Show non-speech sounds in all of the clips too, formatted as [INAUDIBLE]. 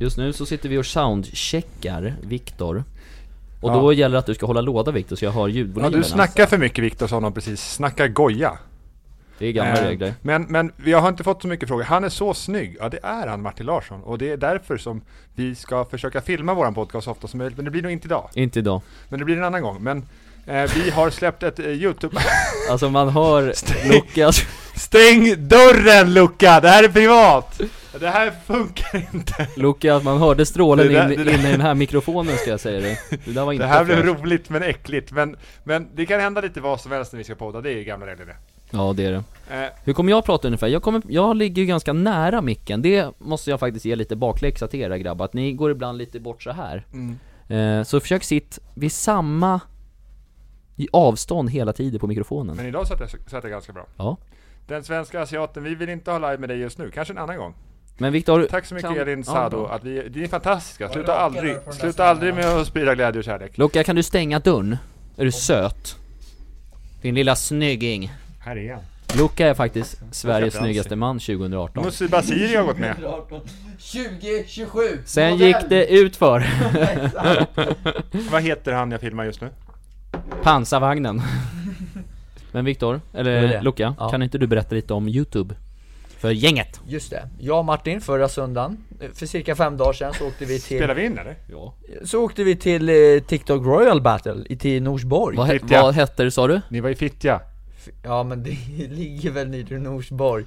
Just nu så sitter vi och soundcheckar Viktor. Och Ja. då gäller det att du ska hålla låda Viktor så jag alltså. hör Ja, ljudvolymerna. du snackar för mycket Viktor sa någon precis. Snacka goja. Det är gamla Eh, regler. Men, men jag har inte fått så mycket frågor. Han är så snygg. Ja, det är han, Martin Larsson. Och det är därför som vi ska försöka filma våran podcast så ofta som möjligt. Men det blir nog inte idag. Inte idag. Men det blir en annan gång. Men eh, vi har släppt ett eh, YouTube... [LAUGHS] Alltså man hör Stäng- Lukas Stäng dörren Luca! Det här är privat! Det här funkar inte. Lukas, man hörde strålen Det där- in, det där- in i den här mikrofonen ska jag säga dig. Det där var inte [LAUGHS] Det här blev fräscht. roligt men äckligt. Men, men det kan hända lite vad som helst när vi ska podda. Det är gamla regler det. Ja det är det. Eh, Hur kommer jag prata ungefär? Jag, kommer, jag ligger ju ganska nära micken, det måste jag faktiskt ge lite bakläxa till era grabbar, att ni går ibland lite bort så här. Mm. Eh, så försök sitt vid samma i avstånd hela tiden på mikrofonen. men idag satt jag, satt jag ganska bra. Ja. Den svenska asiaten, vi vill inte ha live med dig just nu. Kanske en annan gång. Men Viktor, Tack så mycket kan- Elin ja, Sado, bra. att vi, ni är fantastiska. Sluta rakare aldrig, på den där sluta scenen, aldrig med att sprida glädje och kärlek. Luca kan du stänga dörren? Är du söt? Din lilla snygging. Här är han. Luca är faktiskt Sveriges inte alls snyggaste man 2018. Musi Basiri har gått med. 2027! Sen gick det ut för [LAUGHS] Vad heter han jag filmar just nu? [LAUGHS] pansarvagnen. Men Viktor, Det är eller det. Luca, Ja. kan inte du berätta lite om Youtube? För gänget? Just det. Jag och Martin, förra söndagen, eh, för cirka fem dagar sedan, så åkte vi till, Spelar vi in eller? Ja. så åkte vi till eh, TikTok Royal Battle i till Norsborg. Vad, he- Fittja. vad hette det sa du? Ni var i Fittja. F- Ja men det [LAUGHS] ligger väl nere i Norsborg.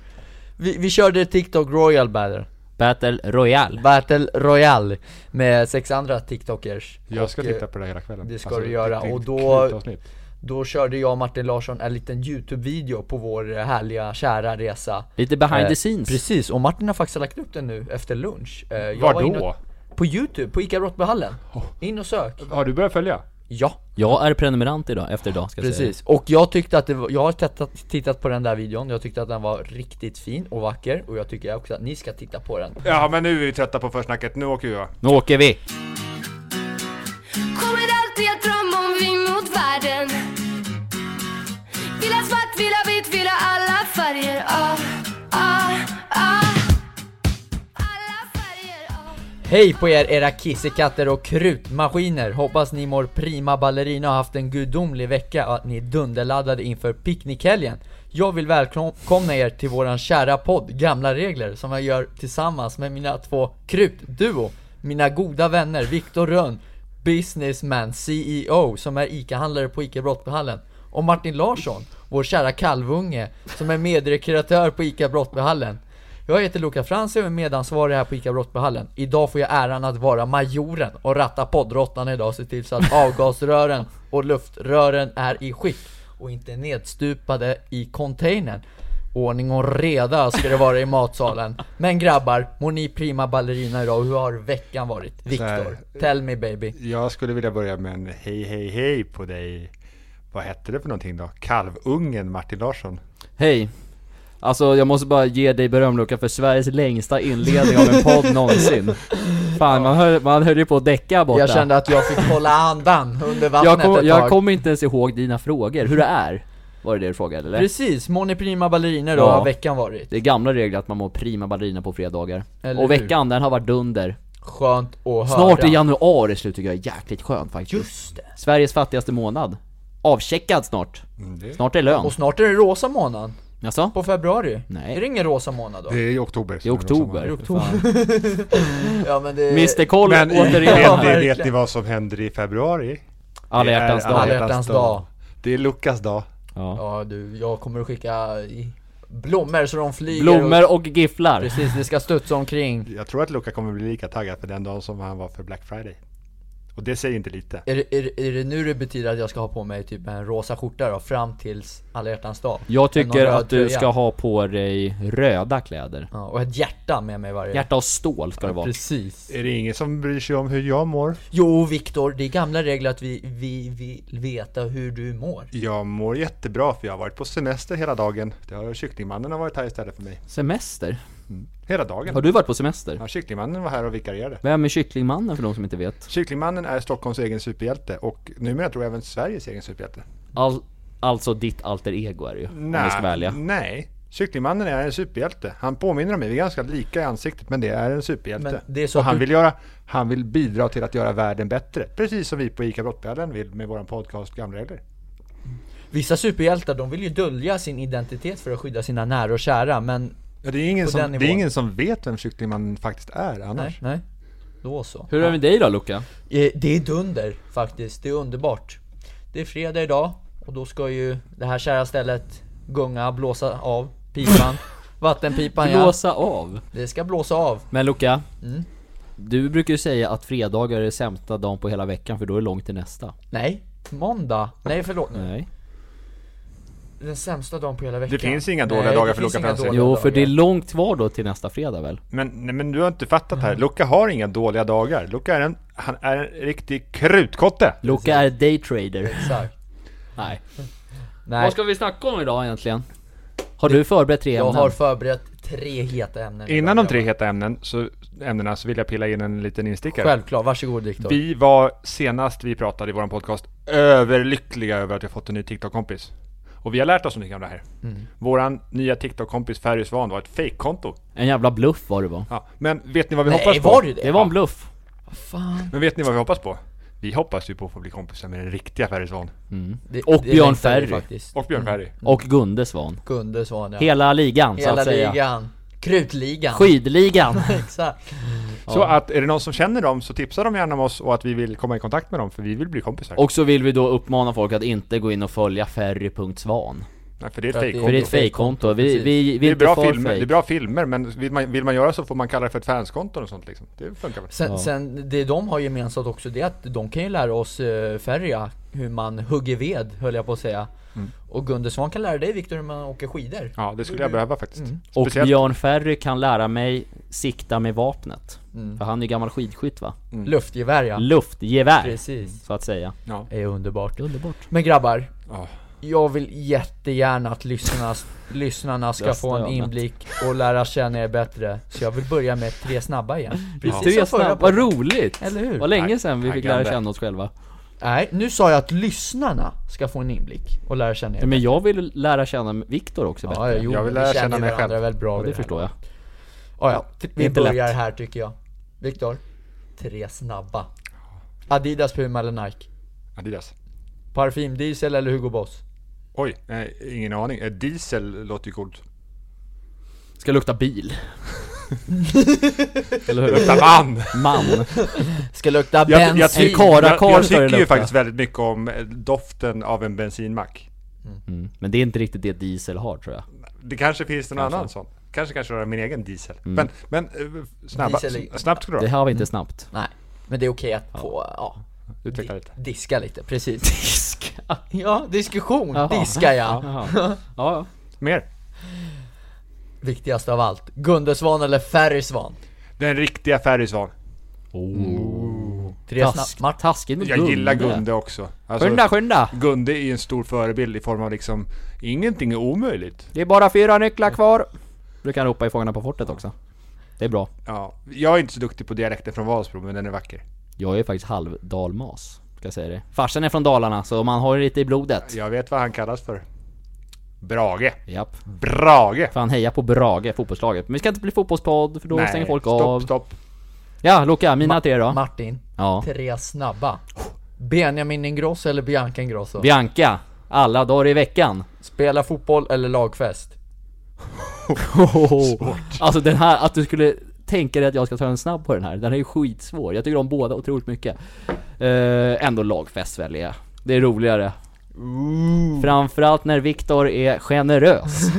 Vi, vi körde TikTok Royal Battle, Battle Royale. Battle Royal, med sex andra TikTokers. Jag ska Och, titta eh, på det här hela kvällen. Alltså, det ska du göra, ett riktigt och då- knutavsnitt. Då körde jag och Martin Larsson en liten YouTube-video på vår eh, härliga, kära resa. Lite behind Eh, the scenes. Precis, och Martin har faktiskt lagt upp den nu efter lunch. Eh, jag Var var inne då? Oh. och- På Youtube, på ICA Brottbyhallen. In och sök. Har du börjat följa? Ja, Jag är prenumerant idag, efter idag ska jag säga. precis. Och jag tyckte att det var, jag har tittat, tittat på den där videon, jag tyckte att den var riktigt fin och vacker och jag tycker också att ni ska titta på den. Ja men nu är vi trötta på försnacket, nu åker vi va? Nu åker vi! Kommer alltid att drömma om vi mot världen Vill ha svart, vill ha vitt, vill ha alla färger ah, ah, ah. Alla färger ah. Hej på er era kissekatter och krutmaskiner! Hoppas ni mår prima ballerina och haft en gudomlig vecka och att ni är dunderladdade inför picknickhelgen. Jag vill välkomna er till våran kära podd Gamla Regler som jag gör tillsammans med mina två krutduo. Mina goda vänner Viktor Rönn, businessman, CEO, som är ICA-handlare på ICA Brottbyhallen. Och Martin Larsson, vår kära kalvunge, som är medrekreatör på ICA Brottbyhallen. Jag heter Luca Frans och är medansvarig här på ICA Brottbyhallen. Idag får jag äran att vara majoren och ratta poddråttan idag och se till så att avgasrören och luftrören är i skick och inte nedstupade i containern. Ordning och reda ska det vara i matsalen. Men grabbar, mår ni prima ballerina idag och hur har veckan varit? Viktor, tell me baby. Jag skulle vilja börja med en hej hej hej på dig. Vad hette det för någonting då? Kalvungen Martin Larsson. Hej! Alltså jag måste bara ge dig beröm Luca för Sveriges längsta inledning av en podd någonsin. Fan, man höll, man höll ju på att däcka borta. Jag kände att jag fick hålla andan under vattnet jag, kom, ett jag tag. kommer inte ens ihåg dina frågor, hur det är. Var det det du frågade eller? Precis, mår ni prima ballerina idag? Ja. Hur har veckan varit? Det är gamla regler att man mår prima ballerina på fredagar. Eller och hur? veckan, den har varit dunder. Skönt att höra. Snart i januari slut tycker jag är jäkligt skönt faktiskt. Just det. Sveriges fattigaste månad. Avcheckad snart. Mm, Snart är lön. Och snart är det rosa månaden, Jaså? på februari. Nej. Är det ingen rosa månad då? Det är i oktober. I oktober. I oktober. oktober. Fan. [LAUGHS] Ja men det... Mr Koll Men återigen. Ja, vet, ni, vet ni verkligen. vad som händer i februari? Alla hjärtans Det är Alla dag. hjärtans dag. Det är Lukas dag. Ja. Ja du, jag kommer att skicka i- blommor så de flyger Blommor och... och gifflar. Precis, det ska studsa omkring. Jag tror att Luca kommer bli lika taggad för den dagen som han var för Black Friday. Och det säger inte lite. Är, det- är, det- är det nu det betyder att jag ska ha på mig typ en rosa skjorta då, fram tills alla hjärtans dag? Jag En tycker röd att du tröja. ska ha på dig röda kläder. Ja, och ett hjärta med mig varje... Hjärta av stål ska det vara. Precis. Är det ingen som bryr sig om hur jag mår? Jo Viktor, det är gamla regler att vi, vi vill veta hur du mår. Jag mår jättebra för jag har varit på semester hela dagen. Det har kycklingmannen har varit här istället för mig. Semester? Hela dagen. Har du varit på semester? Ja, kycklingmannen var här och vikarierade. Vem är kycklingmannen för de som inte vet? Kycklingmannen är Stockholms egen superhjälte och numera tror jag även Sveriges egen superhjälte. All, alltså ditt alter ego är det ju, om vi ska välja. nej. Kycklingmannen är en superhjälte. Han påminner om mig, vi är ganska lika i ansiktet men det är en superhjälte. Men det är så och att han, du- vill göra, han vill bidra till att göra världen bättre. Precis som vi på ICA Brottbjörnen vill med vår podcast Gamregler. Vissa superhjältar, de vill ju dölja sin identitet för att skydda sina nära och kära, men Ja, det, är ingen På den som, det är nivån. ingen som vet vem Kycklingmannen faktiskt är nej, annars. nej. Då så. Hur är det med dig då Luca? Eh, Det är dunder faktiskt, det är underbart. Det är fredag idag och då ska ju det här kära stället gunga, blåsa av [LAUGHS] pipan. Vattenpipan ja. Blåsa av Mm. Det ska blåsa av. Men Luca, du brukar ju säga att fredagar är den sämsta dagen på hela veckan för då är det långt till nästa Nej, måndag. Nej förlåt nu. Nej Den sämsta dagen på hela veckan. Det finns inga dåliga Nej, dagar det för finns Luca inga Fransson. dåliga Jo för det dagar. är långt kvar då till nästa fredag väl? Men, nej, men du har inte fattat det Mm. här. Luca har inga dåliga dagar. Luca är en, han är en riktig krutkotte. Luca är daytrader Exakt. Nej Nej, Vad ska vi snacka om idag egentligen? Har du förberett tre jag ämnen? har förberett tre heta ämnen. Innan de tre heta heta ämnen, så, ämnena så vill jag pilla in en liten instickare. Självklart, varsågod Viktor. Vi var senast vi pratade i vår podcast överlyckliga över att vi har fått en ny TikTok-kompis. Och vi har lärt oss någonting av det här. Mm. Våran nya TikTok-kompis Ferry Svan var ett fejkkonto. En jävla bluff var det var Ja, men vet ni vad vi hoppas Nej, på? var det det? Det var en bluff Fan. Men vet ni vad vi hoppas på? Vi hoppas ju på att få bli kompisar med den riktiga Ferry Svan. Det, Och Björn längtar Ferry. vi faktiskt. Och Mm. Björn Ferry. Och Gunde Svan Gunde Svan ja. Hela ligan så Hela att säga ligan. Krutligan. Skidligan [LAUGHS] [LAUGHS] Exakt. Så att är det någon som känner dem så tipsa dem gärna om oss och att vi vill komma i kontakt med dem för vi vill bli kompisar. Och så vill vi då uppmana folk att inte gå in och följa ferry.svan Nej, för det är För ett att det- För det är fejkkonto. ett fejkkonto, vi, vi, vi Det är, inte bra för filmer, det fake. är bra filmer, men vill man, vill man göra så får man kalla det för ett fanskonto och sånt liksom. Det funkar väl? Sen, sen det de har gemensamt också det är att de kan ju lära oss eh, färja hur man hugger ved höll jag på att säga. Mm. Och Gunde Svan kan lära dig Viktor hur man åker skidor. Ja, det skulle jag behöva faktiskt. Mm. Och Speciellt- Björn Ferry kan lära mig sikta med vapnet. För han är ju gammal skidskytt va? Luftgevär Mm. ja. Luftgevär, Precis. så att säga. Ja. Det är underbart. Underbart. Men grabbar, Ja. jag vill jättegärna att lyssnarna, lyssnarna ska Rösta få en jag med. inblick och lära känna er bättre. Så jag vill börja med tre snabba igen. Du som förra vad roligt! Eller hur? Vad länge sedan vi fick lära Taggande. känna oss själva. Nej, nu sa jag att lyssnarna ska få en inblick och lära känna er. Nej, Men jag vill lära känna Viktor också Ja, bättre. jo, Jag vill vi lära känner känna mig varandra själv. väldigt bra Ja, vid det det här förstår jag. Ja, ja. T- Vi inte lätt. börjar här tycker jag. Viktor, tre snabba. Adidas, Puma eller Nike? Adidas. Parfym, diesel eller Hugo Boss? Oj, eh, ingen aning. Eh, Diesel låter ju coolt. Ska lukta bil. Eller hur? Luktar man! Man. Ska lukta Jag, bensin. jag, Bensin. tycker- Kara, jag, kara jag ska det tycker ju lukta. faktiskt väldigt mycket om eh, doften av en bensinmack. Mm. Men det är inte riktigt det diesel har tror jag. Det kanske finns någon annan sån. Kanske kanske röra min egen diesel. Men, men eh, snabba, Diesel är- s- snabbt ska du Det ha. här var inte snabbt. Nej, men det är okej att få, ja. Utveckla di- lite. Diska lite, [LAUGHS] precis. [LAUGHS] Diska. Ja, diskussion. Jaha. Diska ja. Jaha. Ja, ja. Mer. Viktigast av allt. Gunde Svan eller Ferry Svan? Den riktiga Ferry Svan. Tre Task, snabbt. Mart- taskigt mot Jag gillar Gunde också. Alltså, Skynda, skynda! Gunde är ju en stor förebild i form av liksom, ingenting är omöjligt. Det är bara fyra nycklar kvar. Brukar han ropa i Fångarna på fortet också. Det är bra. Ja, jag är inte så duktig på dialekten från Valsbro, men den är vacker. Jag är faktiskt halvdalmas, ska jag säga det. Farsan är från Dalarna, så man har ju lite i blodet. Jag vet vad han kallas för. Brage. Japp. Brage! Fan heja på Brage, fotbollslaget. Men vi ska inte bli fotbollspodd, för då stänger folk stopp, av. stopp. Ja, Luca, mina tre då. Martin, Ja. tre snabba. Benjamin Ingrosso eller Bianca Ingrosso? Bianca, alla dagar i veckan. Spela fotboll eller lagfest? [LAUGHS] Alltså den här, att du skulle tänka dig att jag ska ta en snabb på den här. Den här är ju skitsvår. Jag tycker om båda otroligt mycket. Eh, ändå lagfest väljer jag. Det är roligare. Framförallt när Viktor är [LAUGHS] generös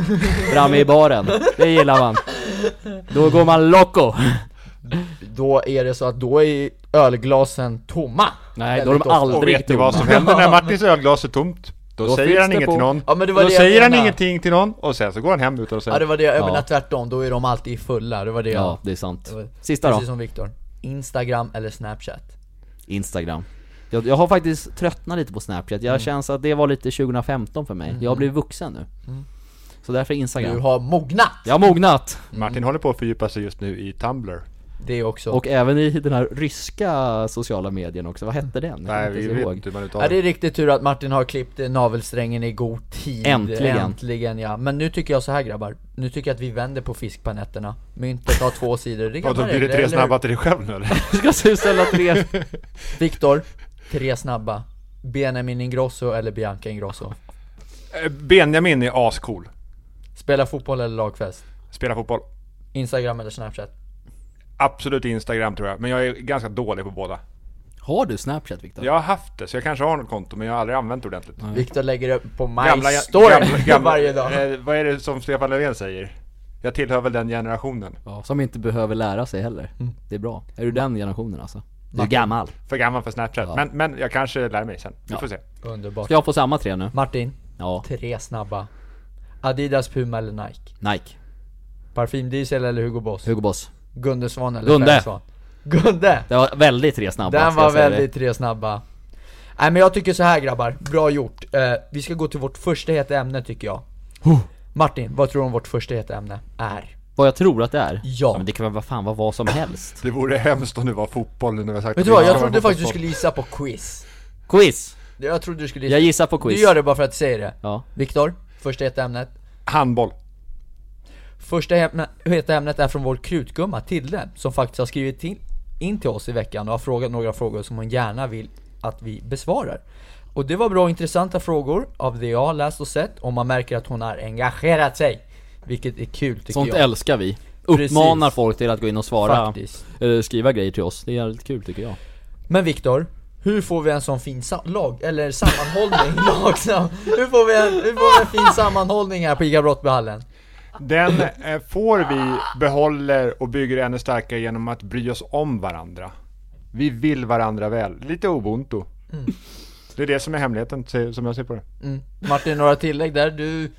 framme i baren. Det gillar man. Då går man loco. Då är det så att då är ölglasen tomma. Nej, då är Väldigt de ofta. Och aldrig vet ni vad tomma. som händer när Martins ölglas är tomt? Då, Då säger fylls han det inget på. till någon. Ja, men det var då det jag säger han menar. ingenting till någon och sen så går han hem utan att säga Ja det var det jag, jag menar Ja. tvärtom, då är de alltid fulla, det var det jag... Ja, det är sant. det var- Sista då. Precis som Viktor. Instagram eller Snapchat? Instagram. Jag, jag har faktiskt tröttnat lite på Snapchat. Mm. Jag känns att det var lite 2015 för mig. Jag har blivit vuxen nu. Så därför Mm. Du Instagram. har mognat! Jag har mognat! Martin håller på att fördjupa sig just nu i Tumblr. Det också. Och även i den här ryska sociala medien också, vad hette den? Jag Nej, kommer vi inte ens ihåg. vet inte hur man Ja, uttalar det är det. riktigt tur att Martin har klippt eh, navelsträngen i god tid Äntligen. Äntligen ja, men nu tycker jag så här grabbar Nu tycker jag att vi vänder på fiskpanetterna Myntet har två sidor, det är Vadå, gamla blir det regler, tre eller snabba till dig själv nu eller? Jag [LAUGHS] ska ställa tre hur? Viktor, tre snabba Benjamin Ingrosso eller Bianca Ingrosso [LAUGHS] Eh, Benjamin är ascool. Spela fotboll eller lagfest Spelar fotboll. Instagram eller Snapchat Absolut Instagram tror jag, men jag är ganska dålig på båda. Har du snapchat Viktor? Jag har haft det, så jag kanske har något konto, men jag har aldrig använt det ordentligt. Viktor lägger upp på Gamla- My Story [LAUGHS] gamla- [LAUGHS] gamla- varje dag eh, vad är det som Stefan Löfven säger? Jag tillhör väl den generationen. Ja, Som inte behöver lära sig heller. Mm. Det är bra. Är du den generationen alltså? Du är gammal. För gammal för Snapchat. Men, men jag kanske lär mig sen. Vi får se. Underbart Ska jag få samma tre nu? Martin, Ja, tre snabba Adidas, Puma eller Nike Nike, Parfymdiesel eller Hugo Boss Hugo Boss. Gunde Svan eller Gunde. Fredrik Svan? Gunde! Det var väldigt tre snabba Den ska jag var säga väldigt tre snabba Nej men jag tycker så här grabbar, bra gjort. Eh, vi ska gå till vårt första heta ämne tycker jag Martin, vad tror du om vårt första heta ämne är? det. Vad jag tror att det är? Ja. Men det kan väl vad fan vara vad som helst? Det vore [LAUGHS] hemskt om det var fotboll nu när vi har sagt Vet att du vi vad, ska jag vara trodde faktiskt du fotboll. skulle gissa på quiz [LAUGHS] Quiz! Jag trodde du skulle gissa Jag gissar på quiz. Du gör det bara för att säga det Ja. Viktor, första heta ämnet Handboll. Första ämne, heta ämnet är från vår krutgumma Tilde, som faktiskt har skrivit till, in till oss i veckan och har frågat några frågor som hon gärna vill att vi besvarar. Och det var bra och intressanta frågor av det jag har läst och sett, och man märker att hon har engagerat sig. Vilket är kul tycker Sånt jag. älskar vi. Uppmanar folk till att gå in och svara, Faktiskt. eller skriva grejer till oss. Det är jävligt kul tycker jag. Men Viktor, hur får vi en sån fin sa- lag, eller sammanhållning, [LAUGHS] lagsam? Hur får vi en, hur får vi en fin sammanhållning här på ICA Brottbyhallen? [LAUGHS] Den eh, får vi, behåller och bygger ännu starkare genom att bry oss om varandra. Vi vill varandra väl. Lite ubuntu. Mm. Det är det som är hemligheten, se- som jag ser på det. Mm. Martin, några tillägg där? Du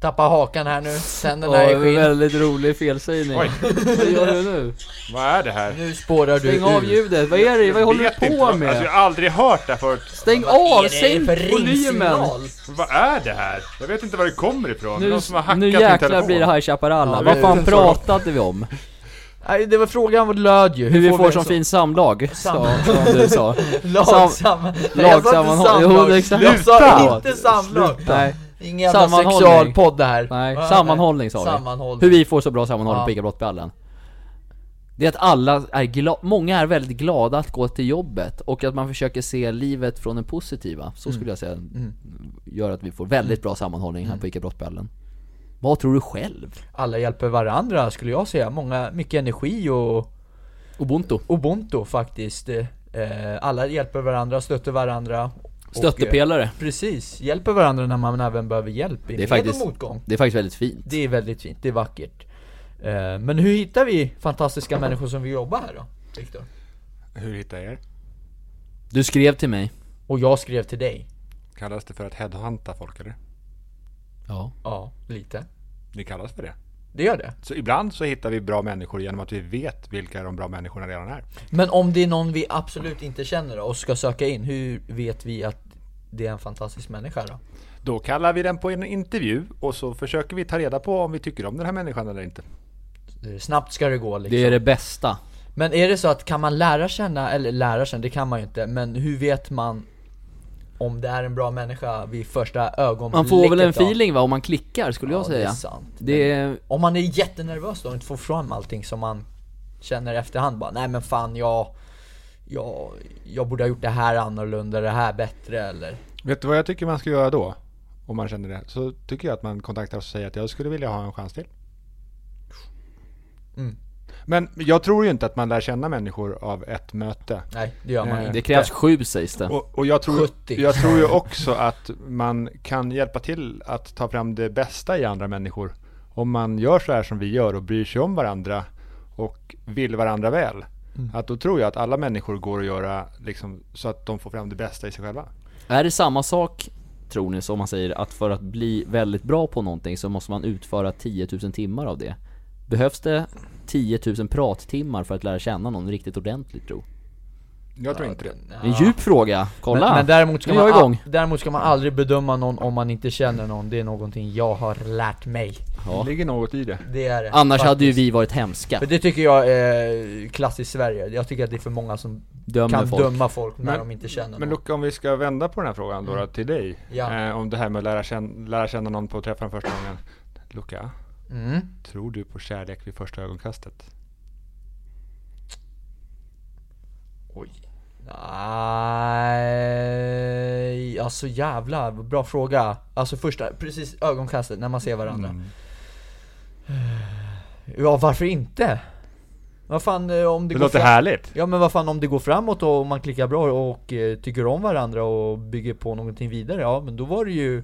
tappar hakan här nu, tänderna är i Oj, skinn. väldigt rolig felsägning. Oj. Vad gör du nu? [LAUGHS] Vad är det här? Nu spårar du Stäng av ur. ljudet, vad är det? Vad håller Vet du inte på vad- Alltså, jag med? har aldrig hört det här förut. Stäng av, Vad är det sänk för volymen! ringsignal? Vad är det här? Jag vet inte var det kommer ifrån. Nu, Någon som har hackat nu min jäklar telefon. blir det High Chaparral Ja, Vad det- fan pratade vi om? Nej, det var frågan vad löd ju. Hur vi får en som sån- fin samlag, sa som du sa Lagsam... lagsammanhåll- Jo, samlag. exakt. Jag sa Sluta! inte samlag. Nej, Ingen jävla Sammanhållning. sexualpodd det här. nej, Va? sammanhållning sa vi Sammanhållning. Hur vi får så bra sammanhållning Ja. på ICA Brottballen Det är att alla är glada, många är väldigt glada att gå till jobbet och att man försöker se livet från den positiva Mm. Så skulle jag säga gör att vi får väldigt bra sammanhållning här på Mm. ICA Brottballen Vad tror du själv? Alla hjälper varandra skulle jag säga. Många, mycket energi och Ubuntu? ubuntu faktiskt. Eh, alla hjälper varandra, stöttar varandra. Och, eh, Stöttepelare? Precis, hjälper varandra när man även behöver hjälp i Det är med faktiskt, och motgång. det är faktiskt väldigt fint Det är väldigt fint, det är vackert. Eh, Men hur hittar vi fantastiska människor som vill jobba här då? Viktor? Hur hittar jag er? Du skrev till mig Och jag skrev till dig. Kallas det för att headhunta folk eller? Ja Ja, lite. Det kallas för det. Det gör det. Så ibland så hittar vi bra människor genom att vi vet vilka de bra människorna redan är. Men om det är någon vi absolut inte känner då och ska söka in, hur vet vi att det är en fantastisk människa då? Då kallar vi den på en intervju och så försöker vi ta reda på om vi tycker om den här människan eller inte. Eh, Snabbt ska det gå liksom. Det är det bästa Men är det så att kan man lära känna, eller lära känna, det kan man ju inte, men hur vet man om det är en bra människa vid första ögonblicket Man får väl en då? feeling va, om man klickar skulle Ja, jag säga det är sant. Det är, Om man är jättenervös då och inte får fram allting som man känner i efterhand bara, nej men fan jag, jag, jag borde ha gjort det här annorlunda, det här bättre eller Vet du vad jag tycker man ska göra då? Om man känner det. Så tycker jag att man kontaktar oss och säger att jag skulle vilja ha en chans till. Mm. Men jag tror ju inte att man lär känna människor av ett möte. Nej, det gör man Nej. inte. det krävs sju sägs det Och, och jag, tror, 70. jag tror ju också att man kan hjälpa till att ta fram det bästa i andra människor. Om man gör så här som vi gör och bryr sig om varandra och vill varandra väl. Att då tror jag att alla människor går att göra liksom, så att de får fram det bästa i sig själva. Är det samma sak, tror ni, som man säger att för att bli väldigt bra på någonting så måste man utföra 10 000 timmar av det? Behövs det 10 000 prattimmar för att lära känna någon riktigt ordentligt tro? Jag tror inte det. En djup fråga, kolla! Men, men däremot, ska Nu är man jag igång. al- däremot ska man aldrig bedöma någon om man inte känner någon, det är någonting jag har lärt mig ja. Det ligger något i det. Det är det Annars faktiskt. hade ju vi varit hemska, För det tycker jag är klassiskt Sverige, jag tycker att det är för många som dömer kan folk döma folk när Men- de inte känner Men någon Luca, om vi ska vända på den här frågan då, då till dig. Mm. Ja. Eh, om det här med att lära känna, lära känna någon på att träffa den första gången. Luca, mm. tror du på kärlek vid första ögonkastet? Oj Nej, alltså jävlar, bra fråga Alltså första, precis ögonkastet när man ser varandra Mm. [SIGHS] Ja varför inte? Vad fan eh, om det, Det, går låter fram- härligt. Ja men vad fan om det går framåt och man klickar bra och eh, tycker om varandra och bygger på någonting vidare, ja men då var det ju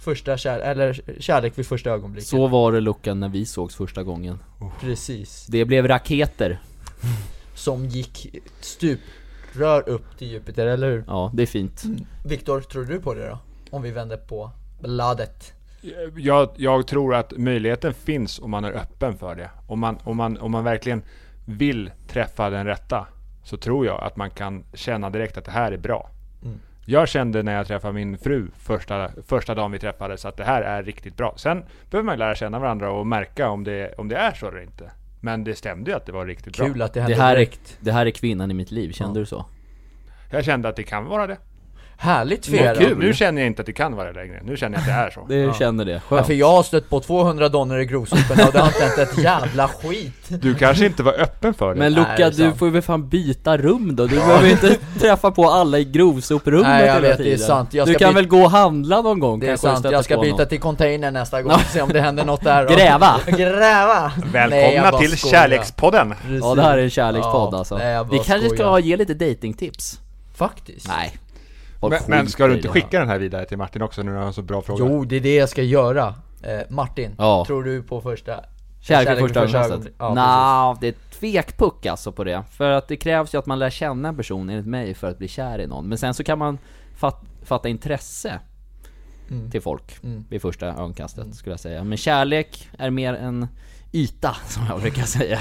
Första kär, eller kärlek vid första ögonblicket Så var det Lucan när vi sågs första gången Precis, Det blev raketer, som gick stup, rör upp till Jupiter, eller hur? ja det är fint Mm. Viktor, tror du på det då? Om vi vänder på bladet Jag, jag tror att möjligheten finns om man är öppen för det. Om man, om, man, om man verkligen vill träffa den rätta så tror jag att man kan känna direkt att det här är bra. Mm. Jag kände när jag träffade min fru första, första dagen vi träffades att det här är riktigt bra. Sen behöver man ju lära känna varandra och märka om det, om det är så eller inte. Men det stämde ju att det var riktigt Kul bra. att det det hände här, är, direkt det här är kvinnan i mitt liv, kände du så? Jag kände att det kan vara det. Härligt för er Vad då. kul. Nu känner jag inte att det kan vara det längre. Nu känner jag att det är så. Det känner det, Ja, skönt för jag har stött på 200 donner i grovsoporna och det har inte hänt ett jävla skit Du kanske inte var öppen för det. Men Nej, det är Luca, du sant. får väl fan byta rum då, du behöver [LAUGHS] inte träffa på alla i grovsoprummet Nej, jag hela vet, det är tiden. sant. Jag Du ska kan byta- väl gå och handla någon gång Det är kanske och sant, stöta jag ska på byta någon. till container nästa gång och se om det händer något där Gräva! Gräva! Nej, jag Välkomna bara till skojar. Kärlekspodden! Precis. Ja det här är en kärlekspodd Ja, alltså nej, jag bara Vi kanske skojar. ska ge lite datingtips? Faktiskt Nej Vad Men, skit men ska du i inte det. skicka den här vidare till Martin också nu när han har så bra fråga? Jo, det är det jag ska göra eh, Martin, Ja. tror du på första Kärlek vid vid första ögonkastet? ögonblick? Ja, Ja, Nja, det precis. är tvekpuck alltså på det. För att det krävs ju att man lär känna en person enligt mig för att bli kär i någon. Men sen så kan man fat, fatta intresse till folk vid första ögonkastet skulle jag säga. Men kärlek är mer en yta [LAUGHS] som jag brukar säga.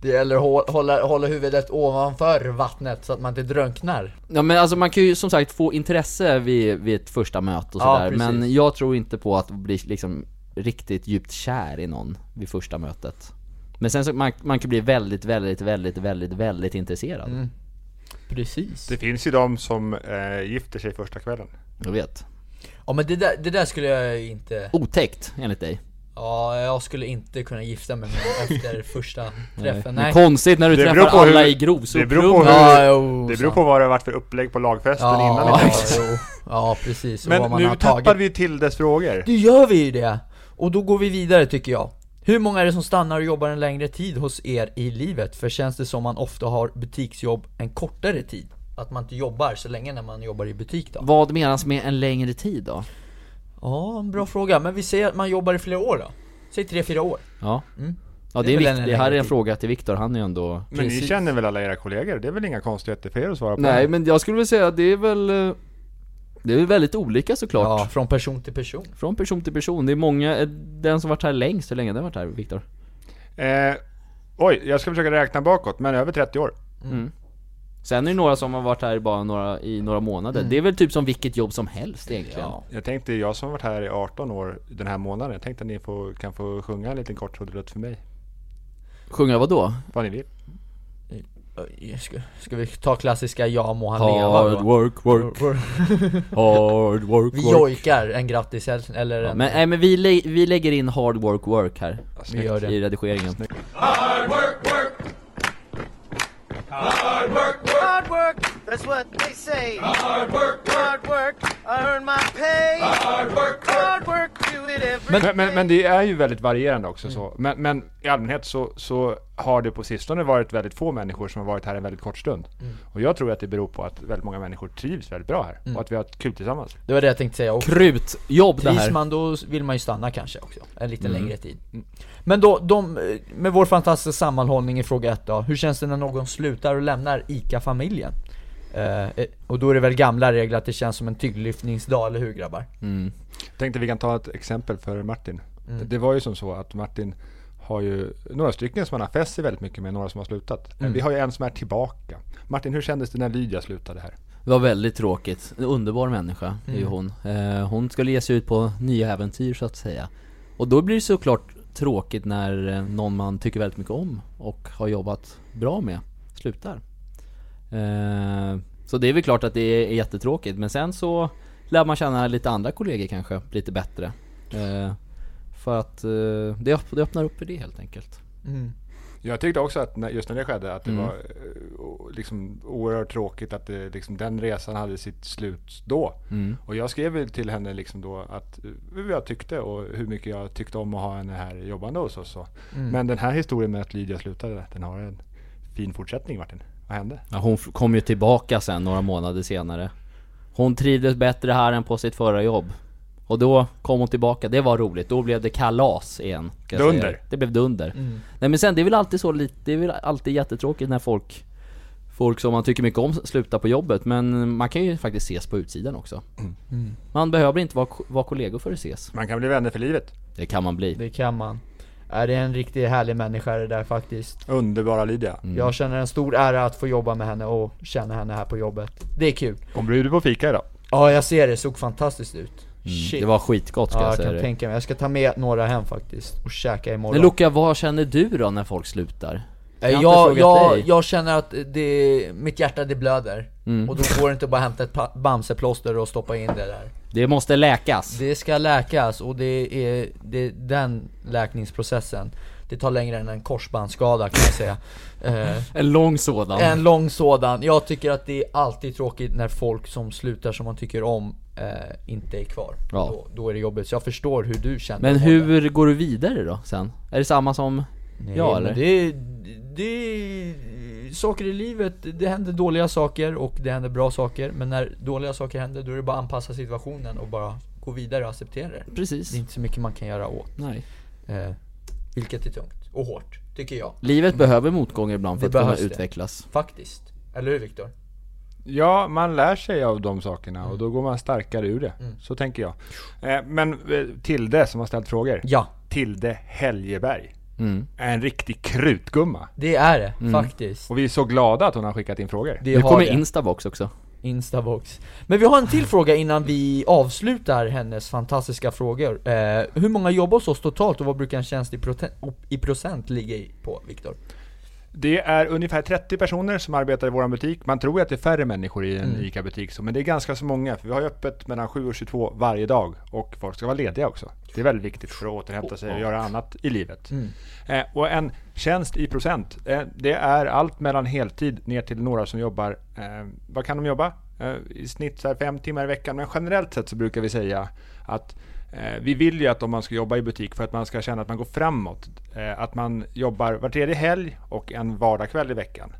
Det gäller att hå- hålla, hålla huvudet ovanför vattnet så att man inte drunknar Ja men alltså man kan ju som sagt få intresse vid, vid ett första möte och Ja, sådär. precis. men jag tror inte på att bli liksom riktigt djupt kär i någon vid första mötet. Men sen så man, man kan bli väldigt, väldigt, väldigt, väldigt, väldigt intresserad. Mm. Precis Det finns ju de som eh, gifter sig första kvällen. Jag vet. Ja men det där, det där skulle jag inte Otäckt enligt dig. Ja, jag skulle inte kunna gifta mig med någon efter första träffen, nej Konstigt när du Det beror på träffar alla hur- i det beror på grovsoprummet. hur- Ja, jo, Det beror på vad det har varit för upplägg på lagfesten innan. Ja, ni ja, träffades. jo. ja precis, och vad Men man nu har tagit. tappar vi Tildes frågor. Det gör vi ju det! Och då går vi vidare tycker jag. Hur många är det som stannar och jobbar en längre tid hos er i livet? För känns det som man ofta har butiksjobb en kortare tid? Att man inte jobbar så länge när man jobbar i butik då? Vad menas med en längre tid då? Ja, en bra fråga. Men vi säger att man jobbar i flera år då? Säg 3-4 år. Ja. Mm. Ja Det det, är är väl en vikt, det här är längre en tid. fråga till Viktor, han är ju ändå... Men ni Precis. känner väl alla era kollegor? Det är väl inga konstigheter för er att svara på? Nej men jag skulle väl säga att det är väl... eh, Det är väl väldigt olika såklart. Ja, från person till person. Från person till person, det är många, eh, den som varit här längst, hur länge har den varit här Viktor? Eh, oj, jag ska försöka räkna bakåt, men över 30 år. Sen är det några som har varit här bara några, i några månader, det är väl typ som vilket jobb som helst egentligen Mm. Ja. Jag tänkte, jag som har varit här i 18 år den här månaden, jag tänkte att ni får, kan få sjunga en liten kort trudelutt för mig. Sjunga vad då? Vad ni vill. Oj, Ska, ska vi ta klassiska ja må han leva Hard då? work, work, hard work, Vi work jojkar en grattishälsning eller Ja, en... Men, nej, men vi, lä- vi lägger in hard work work här Alltså, vi gör det. i redigeringen Hard work, that's what they say. Hard work, hard work, I earn my pay. Hard work, hard work, do it every Men, men, men det är ju väldigt varierande också så. Men, men i allmänhet så, så har det på sistone varit väldigt få människor som har varit här en väldigt kort stund. Och jag tror att det beror på att väldigt många människor trivs väldigt bra här och att vi har haft kul tillsammans. Det var det jag tänkte säga också. Krutjobb det Trivs här! Mm. man då vill man ju stanna kanske också, en lite längre tid. Men då, de, eh, med vår fantastiska sammanhållning i fråga ett då, hur känns det när någon slutar och lämnar ICA-familjen? Eh, eh, och då är det väl gamla regler att det känns som en tyngdlyftningsdag, eller hur Mm. grabbar? Tänkte vi kan ta ett exempel för Martin. Det, det var ju som så att Martin har ju några stycken som man har fäst sig väldigt mycket med, några som har slutat. Mm. Vi har ju en som är tillbaka. Martin, hur kändes det när Lydia slutade här? Det var väldigt tråkigt. En underbar människa är ju Mm. hon. Eh, hon skulle ge sig ut på nya äventyr så att säga. Och då blir det såklart tråkigt när eh, någon man tycker väldigt mycket om och har jobbat bra med slutar. Eh, så det är väl klart att det är jättetråkigt men sen så lär man känna lite andra kollegor kanske lite bättre. Eh, för att eh, det, öpp- det öppnar upp för det helt enkelt. Mm. Jag tyckte också att när, just när det skedde att det Mm. var eh, o- liksom oerhört tråkigt att det, liksom, den resan hade sitt slut då. Mm. Och jag skrev ju till henne liksom då att eh, hur jag tyckte och hur mycket jag tyckte om att ha henne här jobbande hos oss. och- Mm. Men den här historien med att Lydia slutade, den har en fin fortsättning Martin. Vad hände? Ja, hon f- kom ju tillbaka sen några månader senare. Hon trivdes bättre här än på sitt förra jobb. Och då kom hon tillbaka, det var roligt. Då blev det kalas igen. kan jag Dunder. säga. Det blev dunder. Mm. Nej men sen, det är väl alltid så lite, det är väl alltid jättetråkigt när folk Folk som man tycker mycket om slutar på jobbet, men man kan ju faktiskt ses på utsidan också. Mm. Man behöver inte vara, vara kollegor för att ses. Man kan bli vänner för livet. Det kan man bli. Det kan man. Är det är en riktigt härlig människa det där faktiskt. Underbara Lydia. Mm. Jag känner en stor ära att få jobba med henne och känna henne här på jobbet. Det är kul. Hon bjuder på fika idag. Ja, jag ser det. Såg fantastiskt ut. Mm. Det var skitgott ska ja, jag jag säga kan dig. tänka mig. Jag ska ta med några hem faktiskt och käka imorgon. Men Luca, vad känner du då när folk slutar? Eh, jag har jag, inte frågat jag, dig. jag känner att det, mitt hjärta det blöder. Mm. Och då går det inte att bara hämta ett pa- bamseplåster och stoppa in det där. Det måste läkas. Det ska läkas och det är, det är den läkningsprocessen. Det tar längre än en korsbandsskada kan jag [LAUGHS] säga. Eh, En lång sådan. En lång sådan. Jag tycker att det är alltid tråkigt när folk som slutar som man tycker om eh, inte är kvar. Ja. Då, då är det jobbigt. Så jag förstår hur du känner. Men Morgan. hur går du vidare då sen? Är det samma som Nej, jag men eller? det, är- det är saker i livet. Det händer dåliga saker och det händer bra saker. Men när dåliga saker händer då är det bara att anpassa situationen och bara gå vidare och acceptera det. Precis. Det är inte så mycket man kan göra åt. Nej. Eh, vilket är tungt och hårt, tycker jag. Livet behöver motgångar ibland för Det att kunna behövs det. utvecklas. Faktiskt. Eller hur Viktor? Ja, man lär sig av de sakerna och då går man starkare ur det. Så tänker jag. Eh, Men eh, Tilde som har ställt frågor. Ja, Tilde Helgeberg. Mm. Är en riktig krutgumma. det är det faktiskt. Och vi är så glada att hon har skickat in frågor. Det Nu har kommer det. Instabox också. Instabox. Men vi har en till fråga innan vi avslutar hennes fantastiska frågor. Eh, hur många jobb hos oss totalt och vad brukar en tjänst i, prote- op- i procent ligga i på, Viktor? Det är ungefär 30 personer som arbetar i vår butik. Man tror ju att det är färre människor i en ICA-butik, så, men det är ganska så många. För vi har ju öppet mellan 7 och 22 varje dag och folk ska vara lediga också. Det är väldigt viktigt för att återhämta sig och göra annat i livet. Eh, och en tjänst i procent, eh, det är allt mellan heltid ner till några som jobbar, eh, vad kan de jobba? Eh, I snitt så här fem timmar i veckan, men generellt sett så brukar vi säga att Eh, Vi vill ju att om man ska jobba i butik för att man ska känna att man går framåt, eh, att man jobbar var tredje helg och en vardagskväll i veckan.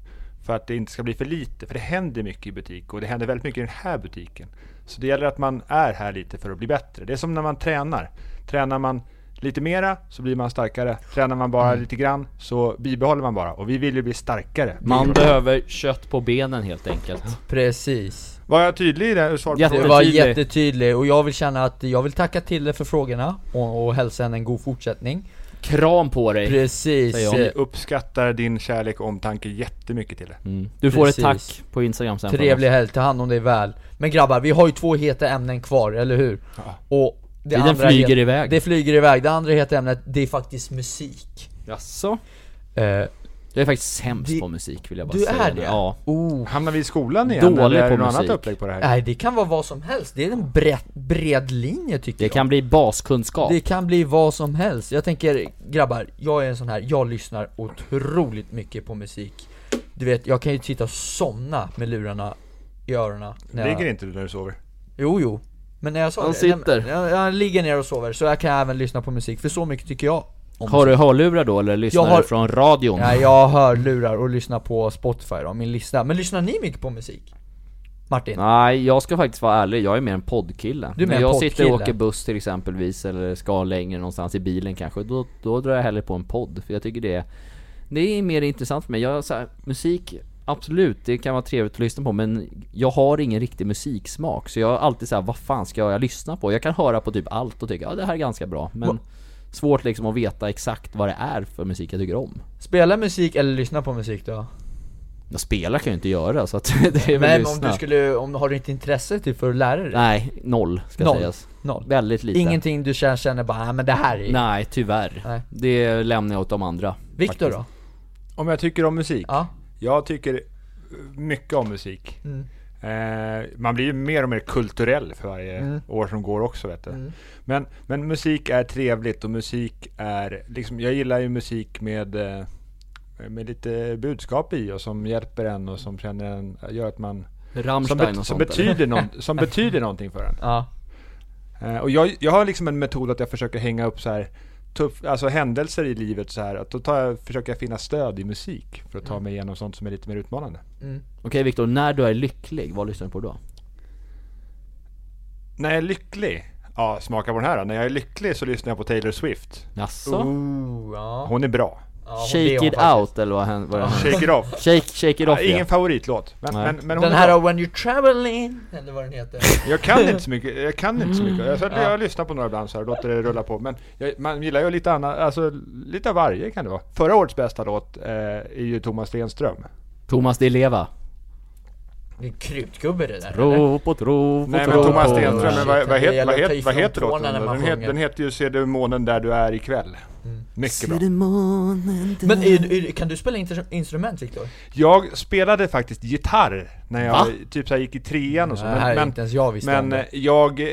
För att det inte ska bli för lite, för det händer mycket i butik och det händer väldigt mycket i den här butiken. Så det gäller att man är här lite för att bli bättre. Det är som när man tränar. Tränar man lite mera så blir man starkare. Tränar man Mm. bara lite grann så bibehåller man bara. Och vi vill ju bli starkare. Man behöver kött på benen helt enkelt. Precis. Var jag tydlig i det här svaret? Jätte- Det var Jättetydlig. jättetydlig och jag vill känna att jag vill tacka till dig för frågorna och, och hälsa henne en god fortsättning. Kram på dig! Precis. Säger jag. Vi uppskattar din kärlek och omtanke jättemycket till det. Mm. Du får ett Precis. tack på Instagram sen. från Eh, Trevlig oss. helg, ta hand om dig väl. Men grabbar, vi har ju två heta ämnen kvar, eller hur? Och det Tiden flyger het- iväg. Det flyger iväg. Det andra heta ämnet, det är faktiskt musik. Jaså? Eh, Jag är faktiskt sämst Det- på musik vill jag bara du säga. är det? Ja. oh. Hamnar vi i skolan igen? Dålig eller är det på något annat musik. Äh, upplägg på det här? Nej, det kan vara vad som helst. Det är en bred, bred linje tycker Det jag. kan bli baskunskap. Det kan bli vad som helst. Jag tänker, grabbar, jag är en sån här, jag lyssnar otroligt mycket på musik. Du vet, jag kan ju sitta och somna med lurarna i öronen. när jag- Ligger inte du när du sover? Jo, jo. Men när jag sa Han det, nej, men- sitter. Jag, jag ligger ner och sover, så jag kan även lyssna på musik, för så mycket tycker jag om Har musik. du hörlurar då eller lyssnar har- du från radion? Nej, jag hör lurar och lyssnar på Spotify då, min lista. Men lyssnar ni mycket på musik? Martin? Nej, jag ska faktiskt vara ärlig, jag är mer en poddkille. Du är mer När en jag sitter och åker poddkille. buss till exempelvis, eller ska längre någonstans i bilen kanske, då, då drar jag hellre på en podd. För jag tycker det är, det är mer intressant för mig. Jag, så här, musik, absolut, det kan vara trevligt att lyssna på, men jag har ingen riktig musiksmak. Så jag är alltid så här, vad fan ska jag lyssna på? Jag kan höra på typ allt och tycka, ja det här är ganska bra, men svårt liksom att veta exakt vad det är för musik jag tycker om. Spela musik eller lyssna på musik då? Jag spelar kan jag ju inte göra så att [LAUGHS] det är väl Men om lyssna. du skulle, om, har du inte intresse typ för att lära dig? Nej, noll ska Noll. sägas. Noll. Väldigt lite. Ingenting du känner, känner bara, "Nej, men det här är... Nej, tyvärr. Nej. Det lämnar jag åt de andra. Viktor faktiskt. då? Om jag tycker om musik? Ja. Jag tycker eh, mycket om musik. Mm. Eh, man blir ju mer och mer kulturell för varje Mm. år som går också. Vet du. Men, men musik är trevligt och musik är, liksom, jag gillar ju musik med, eh, med lite budskap i och som hjälper en och som känner en, gör att man som, Rammstein bet- och som, sånt eller? [LAUGHS] betyder, någon, som betyder någonting för en. Ja. Eh, och jag, jag har liksom en metod att jag försöker hänga upp så här tuff, alltså händelser i livet så här, att då tar jag, försöker jag finna stöd i musik för att ta Mm. mig igenom sånt som är lite mer utmanande. Okej Viktor, när du är lycklig, vad lyssnar du på då? När jag är lycklig, ja smaka på den här då. När jag är lycklig så lyssnar jag på Taylor Swift. Jaså? Ooh, ja. Hon är bra. ja hon- det är Shake hon it faktiskt. out eller vad hän- vad det hände? Shake it off. Shake, shake it Ja, off ingen ja. favoritlåt, men, Nej. men, men hon Den är här bra. av When You're Traveling, eller vad [LAUGHS] den heter. Jag kan inte så mycket, jag kan inte så mycket. Jag, så jag, lyssnar på några ibland så här, låter det rulla på. Men jag, man gillar ju lite annat, alltså lite av varje kan det vara. Förra årets bästa låt eh, är ju Thomas Stenström. Thomas Di Leva. Det är en krutgubbe det där eller? Tro på tro på Nej men tro Thomas på. Stenström, men vad, vad, Det heter, gäller vad, att ta heter, vad ifrån heter låten? tårna när man Den, heter, sjunger. Mm. den heter ju Ser du månen där du är ikväll. Mycket bra. Men är, är, kan du spela inter- instrument Viktor? Jag spelade faktiskt gitarr när jag Va? typ så här gick i trean och så. Det här är inte ens jag visste om men det. eh, jag eh,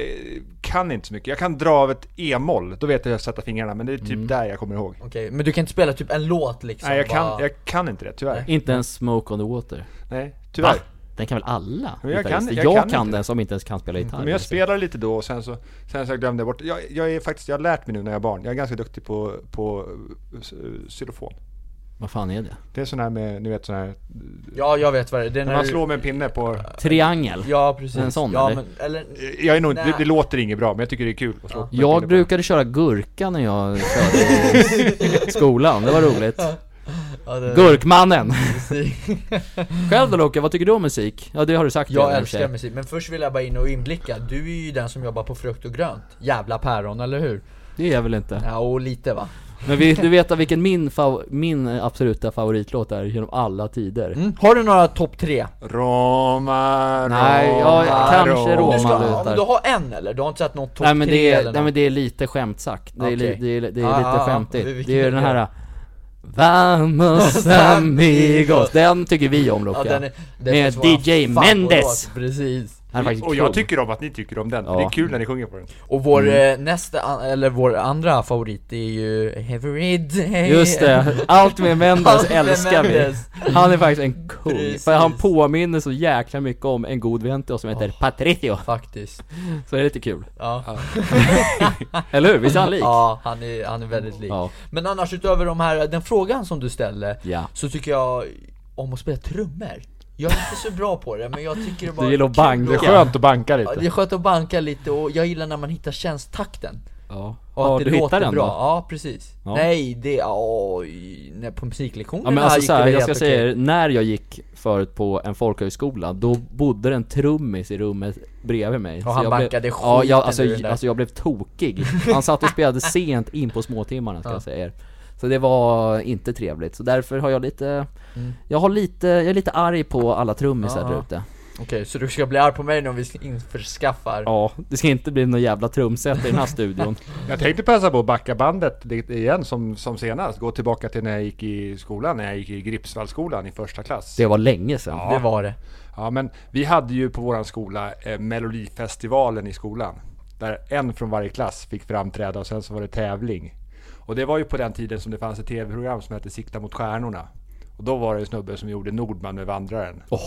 kan inte så mycket. Jag kan dra av ett e-moll, då vet jag hur jag sätter fingrarna. Men det är typ Mm. där jag kommer ihåg. Okej, men du kan inte spela typ en låt liksom? Nej, jag kan, bara- jag kan inte det, tyvärr. Inte ens Smoke on the Water. Nej, tyvärr. Den kan väl alla? Men jag kan- gitarrister? jag jag kan kan, inte. den som inte ens kan spela gitarr. Men jag spelar lite då och sen så, sen så glömde jag bort. Jag, jag är faktiskt, jag har lärt mig nu när jag är barn. Jag är ganska duktig på, på eh, s- eh, xylofon. Vad fan är det? Det är sån här med, ni vet sån här, Ja, jag vet vad det är. det är när man slår med en pinne på... Triangel. Ja, precis. En sån, ja, eller? Men, eller? Jag är nog inte, det, Nej. det låter inget bra, men jag tycker det är kul att slå med en pinne Jag på- brukade köra gurka när jag körde i skolan, det var [LAUGHS] roligt. Ja, det, Gurkmannen! Själv då Loke, vad tycker du om musik? Ja det har du sagt redan [LAUGHS] Jag i och för sig. älskar musik, men först vill jag bara in och inblicka. Du är ju den som jobbar på frukt och grönt. Jävla päron, eller hur? Det är jag väl inte. Ja, och lite va? Men vi, du vet vilken min, fav, min absoluta favoritlåt är genom alla tider? Mm. Har du några topp tre? Roma, Nej, ja, Roma, kanske Roma. Roma. Du, ska, lutar. om du har en eller? Du har inte sett någon topp Nej men, tre det eller är, något? nej men det är lite skämt sagt. Det är, li, Okej. det är, det är Ah, lite ah, ah. skämtigt. Vilken det är ju den här är det? [LAUGHS] Vamos amigos. Den tycker vi om Loke. ja, den är, den Med är vår DJ favoritlåt. Mendes. Precis. Han är faktiskt Och jag kung. tycker om att ni tycker om den, för Ja. det är kul när ni sjunger på den. Och vår Mm. eh, nästa, an- eller vår andra favorit är ju Every Day Just det, allt med Allt Mendes med älskar vi. Mendes. Han är faktiskt en kung, Precis. för han påminner så jäkla mycket om en god vän till oss som heter Patricio. [LAUGHS] Faktiskt, Så det är lite kul. ja Eller hur? Visst är han lik? Ja, han är, han är väldigt lik Ja. Men annars utöver de här, den frågan som du ställde Ja. Så tycker jag om att spela trummor Jag är inte så bra på det, men jag tycker det bara Du gillar att banka. Det är skönt att banka Ja, Det är lite. skönt att banka lite och jag gillar när man hittar känstakten Ja. och Har att du det låter hittat den bra, då? ja precis Ja. Nej, det, oj, nej, på musiklektionerna Ja men alltså gick så här, det jag helt ska okej. säga er, när jag gick förut på en folkhögskola, då bodde det en trummis i rummet bredvid mig Och han jag bankade blev, ja, skiten jag, alltså, ur den där. alltså jag blev [LAUGHS] tokig Han satt och spelade sent in på småtimmarna ska jag säga er Så det var inte trevligt, så därför har jag lite Jag har lite, jag är lite arg på alla trummisar Mm. Ja, där ja. ute Okej, så du ska bli arg på mig nu om vi införskaffar Ja, det ska inte bli någon jävla trumset i den här [LAUGHS] studion Jag tänkte passa på att backa bandet dit igen som, som senast. Gå tillbaka till när jag gick i skolan, när jag gick i Gripsvallskolan i första klass. Det var länge sedan Det var det Ja, men vi hade ju på våran skola eh, Melodifestivalen i skolan. Där en från varje klass fick framträda och sen så var det tävling. Och det var ju på den tiden som det fanns ett tv-program som hette Sikta mot stjärnorna. Och då var det en snubbe som gjorde Nordman med Vandraren. så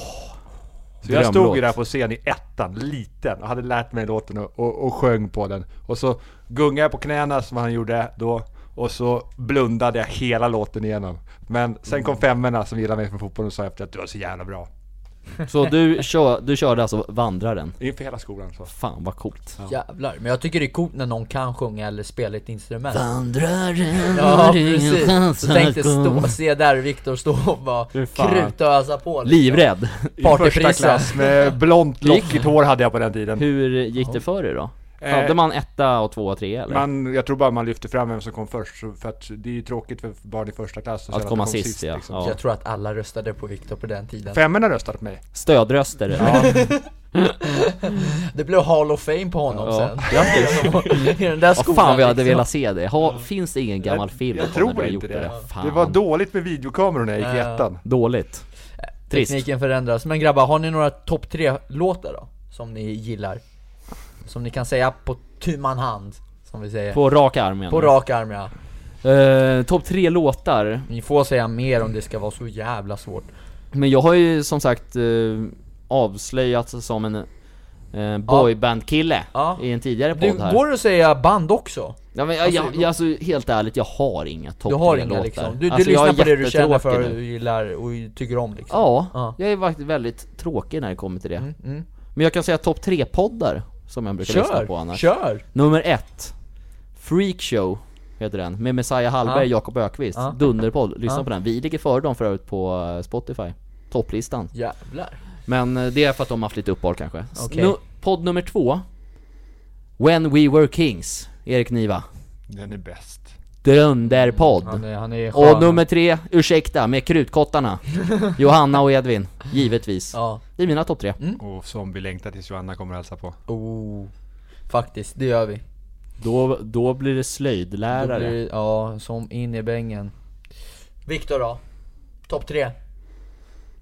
jag stod ju drömlåt. där på scen i ettan, liten, och hade lärt mig låten och, och, och sjöng på den. Och så gungade jag på knäna som han gjorde då. Och så blundade jag hela låten igenom. Men sen kom femmorna som gillade mig från fotbollen och sa efter att du var så jävla bra. Så du, kör, du körde alltså Vandraren? Inför hela skolan så. Fan vad coolt Jävlar, men jag tycker det är coolt när någon kan sjunga eller spela ett instrument Vandraren Ja precis, så tänk dig stå, se där Viktor stå och bara fan. kruta och ösa på Livrädd! [LAUGHS] I första klass med blont lockigt hår hade jag på den tiden. Hur gick det för dig då? Hade man etta och tvåa och trea eller? Eh, Man, jag tror bara man lyfter fram vem som kom först, så- för att det är ju tråkigt för barn i första klass att känna komma de kom sist, ja. liksom. ja. Jag tror att alla röstade på Viktor på den tiden Femmorna röstade på mig. Stödröster Det blev Hall of Fame på honom Ja. sen [LAUGHS] I den där Vad skolan fan vi hade liksom. velat se det, ha, finns det ingen gammal film jag på tror när vi har inte gjort det. det? Fan. Det var dåligt med videokameror när jag gick i Ja. ettan. dåligt Trist. Tekniken förändras, men grabbar har ni några topp tre låtar då? Som ni gillar? Som ni kan säga på tu man hand, som vi säger På, På rak arm menar du? rak arm ja Eh, Topp tre låtar, Ni får säga mer om det ska vara så jävla svårt men jag har ju som sagt eh, avslöjats som en eh, boybandkille Ja. i en tidigare Du, podd här går det att säga band också? ja, men, jag, jag, jag, alltså, Helt ärligt, jag har inga topp Du har tre inga låtar. liksom, du, du Alltså, jag lyssnar är på det du känner jättetråkig för, nu. du gillar och tycker om liksom Ja, Ja. Mm. jag är faktiskt väldigt tråkig när det kommer till det Men jag kan säga topp tre poddar som jag brukar lyssna på Kör! annars Kör! Nummer ett Freakshow heter den, med Messiah Hallberg och Ja. Jakob Ökvist Ja. Dunderpodd, lyssna Ja. på den. Vi ligger före dem för övrigt på eh, Spotify Topplistan Jävlar Men eh, det är för att de har haft lite uppehåll kanske S- Okej. nu, Podd nummer två When We Were Kings, Erik Niva Den är bäst. Dunderpodd! Han är, han är skön Och nummer tre, ursäkta, med [LAUGHS] Krutkottarna Johanna och Edvin, givetvis Ja, Mm. Det är mina topp tre Och som vi längtar tills Johanna kommer och hälsa på. oh Faktiskt, det gör vi Då, då blir det Då slöjdlärare blir det- Ja, som in i bängen Viktor då? Topp tre?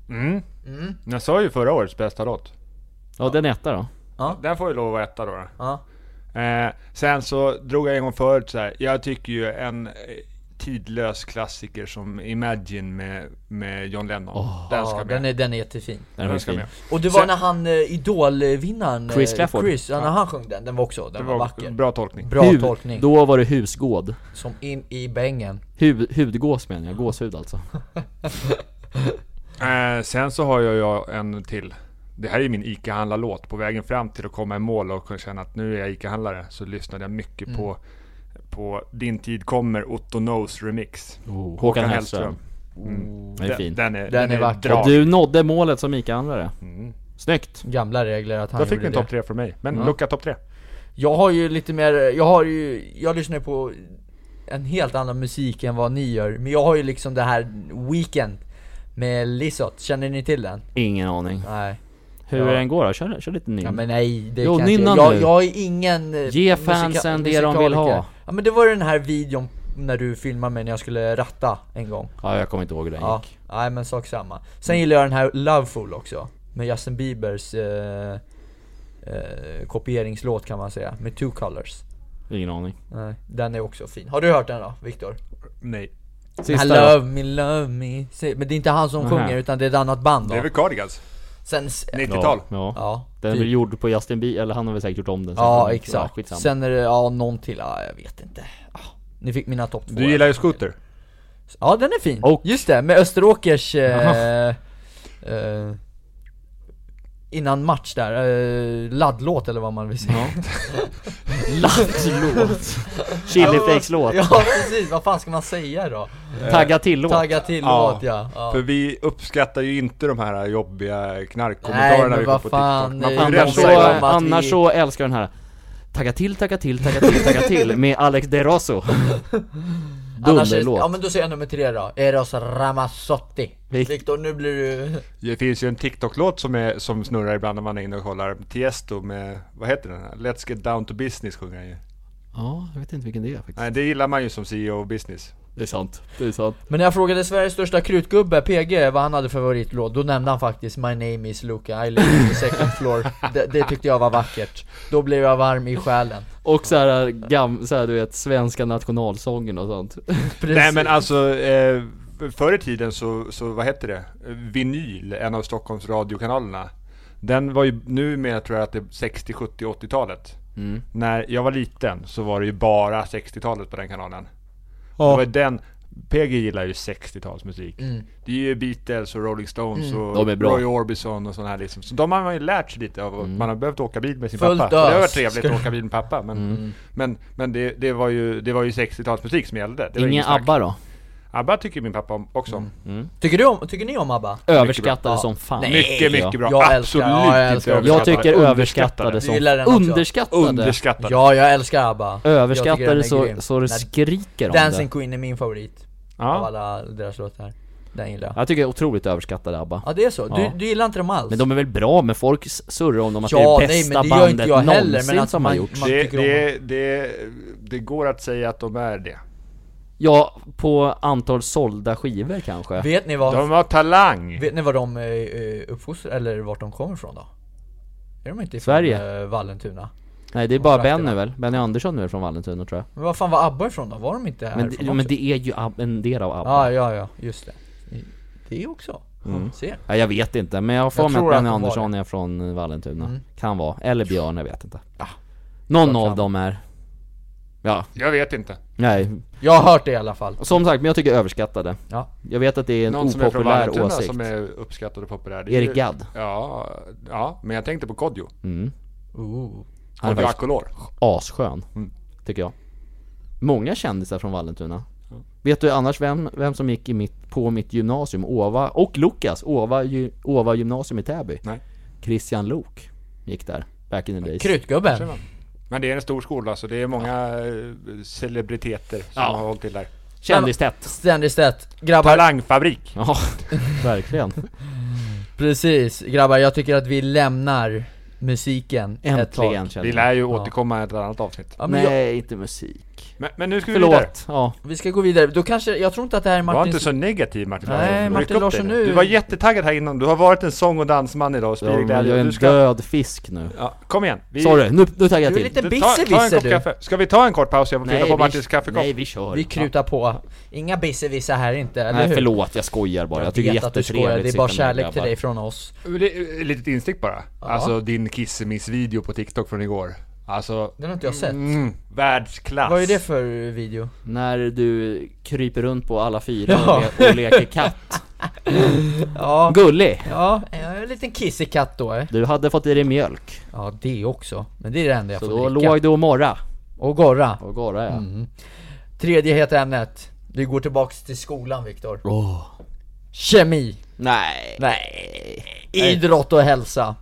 Mm. Jag sa ju förra årets bästa låt. Ja den är etta då Den får ju lov att vara etta då. då. Ja, Eh, sen så drog jag en gång förut så här. jag tycker ju en eh, tidlös klassiker som Imagine med, med John Lennon. Den ska ja med. den, är, den är jättefin Den är Den ska fin. med. Och det var Sen- när han, eh, idolvinnaren eh, Chris Clafford. Chris, ja, när han sjöng den, den var också, den Det var, var vacker Bra, bra tolkning. Hud- tolkning, Då var det husgård som in i bängen Hud, Hudgås menar jag, gåshud alltså Eh, sen så har jag, jag en till. Det här är ju min ICA-handlarlåt. På vägen fram till att komma i mål och kunna känna att nu är jag ICA-handlare så lyssnade jag mycket på, på Din tid kommer, Otto Knows remix. Oh, Håkan, Håkan Hellström, Den är fin Den, den är, Den är vacker. drag. Och du nådde målet som ICA-handlare Mm. Snyggt! Gamla regler att han Då fick vi gjorde en det topp tre från mig. Men Luca topp tre. Jag har ju lite mer, jag har ju, jag lyssnar ju på en helt annan musik än vad ni gör Men jag har ju liksom det här Weekend med Lizot, känner ni till den? Ingen aning Nej Hur Ja. den går då? Kör, kör lite ny Ja men nej, det Jo, kan jag inte nynna jag, nu. jag är ingen eh, Ge musika- fansen det de vill musikaliker. ha. Ja men det var ju den här videon när du filmade mig när jag skulle ratta en gång ja, jag kommer inte ihåg hur den Ja, gick nej men sak samma Sen gillar jag den här Loveful också Med Justin Biebers eh, eh, kopieringslåt kan man säga, med Two Colors Ingen aning Nej, Den är också fin. Har du hört den då, Viktor? Nej. Sista I då. love me, love me Say- Men det är inte han som Nähä. sjunger utan det är ett annat band Det då är väl Cardigans? Sen, s- 90-tal. Ja, ja. ja, Den är typ. väl gjord på Justin Bieber, eller han har väl säkert gjort om den sen. ja exakt skitsamma. Sen är det, ja någon till, ja, jag vet inte ah, Ni fick mina topp två Du gillar ju Scooter. Ja den är fin, Och- just det, med [LAUGHS] Österåkers eh, eh, Innan match där, eh, laddlåt eller vad man vill säga [LAUGHS] Lattlåt! Chiliflakes-låt! Ja precis, vad fan ska man säga då? Tagga till-låt! Tagga till Ja, låt ja, ja. För vi uppskattar ju inte de här jobbiga Nej, knarkkommentarerna men vi vad får på TikTok. fan, Man får ju det Annars är så, rensa sig om ibland. att annars vi- så älskar jag den här Tagga till, tagga till, tagga till, tagga till med Alex De Rosso [LAUGHS] Annars är, Dunderlåt ja men då säger jag nummer tre då, Eros Ramazzotti Vil- Viktor nu blir du... Det finns ju en TikTok-låt som, är, som snurrar ibland när man är inne och kollar. Tiesto med, vad heter den? här? Let's get down to business sjunger han ju. Ja, jag vet inte vilken det är faktiskt Nej, det gillar man ju som CEO of business. Det är sant, det är sant Men när jag frågade Sveriges största krutgubbe, PG, vad han hade för favoritlåt, då nämnde han faktiskt 'My name is Luca, I live on the second [LAUGHS] floor' det, det tyckte jag var vackert Då blev jag varm i själen Och så här, gam, så här du vet, svenska nationalsången och sånt Precis. Nej men alltså, eh, förr i tiden så, så, vad heter det? Vinyl, en av Stockholms radiokanalerna. Den var ju, nu med tror jag att det är 60, 70, 80-talet. När jag var liten så var det ju bara 60-talet på den kanalen. Det var ju den, PG gillar ju 60-talsmusik. Det är ju Beatles och Rolling Stones och De är bra. Roy Orbison och sådana här liksom. Så de har man ju lärt sig lite av, och man har behövt åka bil med sin Fullt pappa. Det har ös. varit trevligt att åka bil med pappa. Mm. Men, men, men det, det var ju, det var ju 60-talsmusik som gällde. Det var Ingen snack. ABBA då? ABBA tycker min pappa om också Mm. om. Tycker, du om, tycker ni om ABBA? Överskattade Ja. som fan Nej. Mycket, mycket bra. Jag älskar- Absolut ja, jag inte älskar- Jag tycker Underskattade. överskattade som gillar den också. Underskattade! Underskattade. Ja, jag älskar ABBA Jag tycker den Överskattade är så, grym. så det Nej, skriker om Dancing det Queen är min favorit av Ja. alla deras låtar Den gillar jag Jag tycker det är otroligt överskattade ABBA Ja det är så, du, Ja. du gillar inte dem alls? Men de är väl bra, men folk s- surrar om dem att Ja, det är nej, bästa men det gör bandet inte jag heller, någonsin men att som har man- gjorts man- Det, tycker om det, det, det går att säga att de är det. Ja, på antal sålda skivor kanske Vet ni vad, De har talang! vet ni vad de eh, eh, uppfostrar, eller vart de kommer ifrån då? Är de inte ifrån Sverige. eh, Vallentuna? Nej det är bara Kontrakter, Benny va? väl? Benny Andersson är väl från Vallentuna tror jag Men vad fan var ABBA ifrån då? Var de inte Men, det- härifrån jo, men också? det är ju ab- en del av ABBA Ja, ja, ja, just det Det är också, Mm. ser Ja, jag vet inte, men jag får Jag med att tror Benny att de Mm. var Andersson är från eh, Vallentuna Kan vara, eller Björn, jag vet inte Någon av dem är Ja, Jag vet inte. nej Jag har hört det i alla fall Som sagt, men jag tycker överskattade Ja, Jag vet att det är en Någon som är från opopulär Vallentuna åsikt som är uppskattad och populär. Det är Erik ju- Gadd Ja, ja, men jag tänkte på Kodjo. Ooh. Han är Kodjo faktiskt Akolor. asskön, Mm. tycker jag Många kändisar från Vallentuna Vet du annars vem, vem som gick i mitt, på mitt gymnasium, Ova, och Lukas, Ova, gy- Ova gymnasium i Täby? Nej. Christian Lok gick där, back in the days Krutgubben Men det är en stor skola så det är många eh, celebriteter Ja. som har hållit till där. Kändistätt! Ständigt tätt Grabbar, Talangfabrik! [LAUGHS] Ja, verkligen precis grabbar, jag tycker att vi lämnar musiken ett tag Äntligen Vi känner jag lär ju återkomma i ett annat avsnitt. ja, men jag, Nej, inte musik Men, men nu ska vi vidare. Förlåt, ja Vi ska gå vidare, då kanske, jag tror inte att det här är Var Martins... inte så negativ Martin Nej, Ryck upp Martin dig Larsson, nu- Du var jättetaggad här innan, du har varit en sång och dansman idag och Jag spridit jag glädje. är och en Du ska... död fisk nu Ja, kom igen! Vi... Sorry, nu, nu taggar jag Du är till lite Du, ta, ta en bissevisser kopp du kaffe. Ska vi ta en kort paus? Jag får fylla på vi- Martins kaffekopp. nej vi kör Vi krutar på, inga bissevisser här inte, eller Nej hur? förlåt, jag skojar bara. Jag, tycker det är vet att du jättetrevligt skojar, det är att bara sitta med kärlek till grabbar. dig från oss Det- Ett litet instick bara. Alltså din Kissemiss-video på TikTok från igår. Alltså, Den har inte jag sett mm, världsklass. Vad är det för video? När du kryper runt på alla fyra Ja. och, le- och [LAUGHS] leker katt. Ja, Gullig! ja, jag är en liten kissekatt då eh. Du hade fått i dig mjölk, Ja, det också, men det är det enda jag så då får dricka låg du och morra. Och gorra Och gorra ja. Tredje heta ämnet. Vi går tillbaks till skolan Viktor. Kemi. Nej. Nej. Mm. Idrott och hälsa.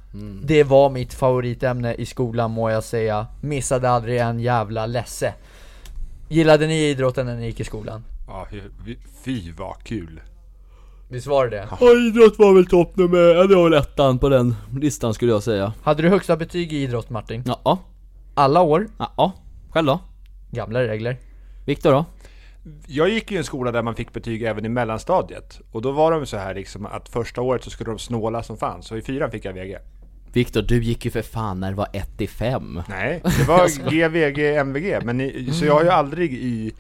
Det var mitt favoritämne i skolan må jag säga. Missade aldrig en jävla lässe. Gillade ni idrotten när ni gick i skolan? Ja, fy- fy vad kul. Visst var det det? idrott var väl topp nummer, ja det var ettan på den listan skulle jag säga. Hade du högsta betyg i idrott Martin? Ja, ja. Alla år? ja. Själv då? Gamla regler. Viktor då? Jag gick ju i en skola där man fick betyg även i mellanstadiet. Och då var de så här liksom att första året så skulle de snåla som fanns. Så i fyran fick jag VG. Viktor, du gick ju för fan när det var 1 till 5. Nej, [LAUGHS] det var G, VG, MVG. Men i, så jag har ju aldrig i...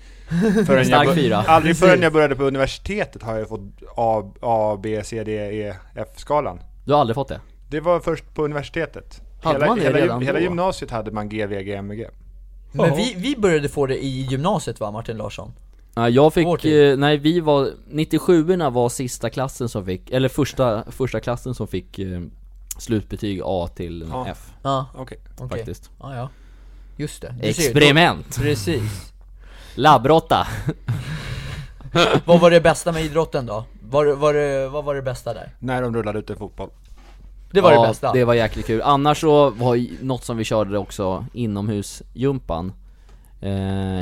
Förrän jag, Stark bör- fyra. aldrig förrän jag började på universitetet har jag fått A, A B, C, D, E, F-skalan. Du har aldrig fått det? Det var först på universitetet. Hade hela, man det hela, ju- redan hela då? gymnasiet hade man G, VG, MVG. Men vi, vi började få det i gymnasiet va Martin Larsson? Nej jag Vår fick, tid. eh, nej vi var, 97orna var sista klassen som fick, eller första, första klassen som fick eh, slutbetyg A till Ja. F Ja, Okej. okej. faktiskt Ja, ja. Just det. Du ser, Experiment! då- Precis. Labbråtta! Vad var det bästa med idrotten då? Var, var det, vad var det bästa där? När de rullade ut en fotboll. [LAUGHS] Det var ja, det bästa? det var jäkligt kul. Annars så var ju något som vi körde också, inomhusjumpan eh,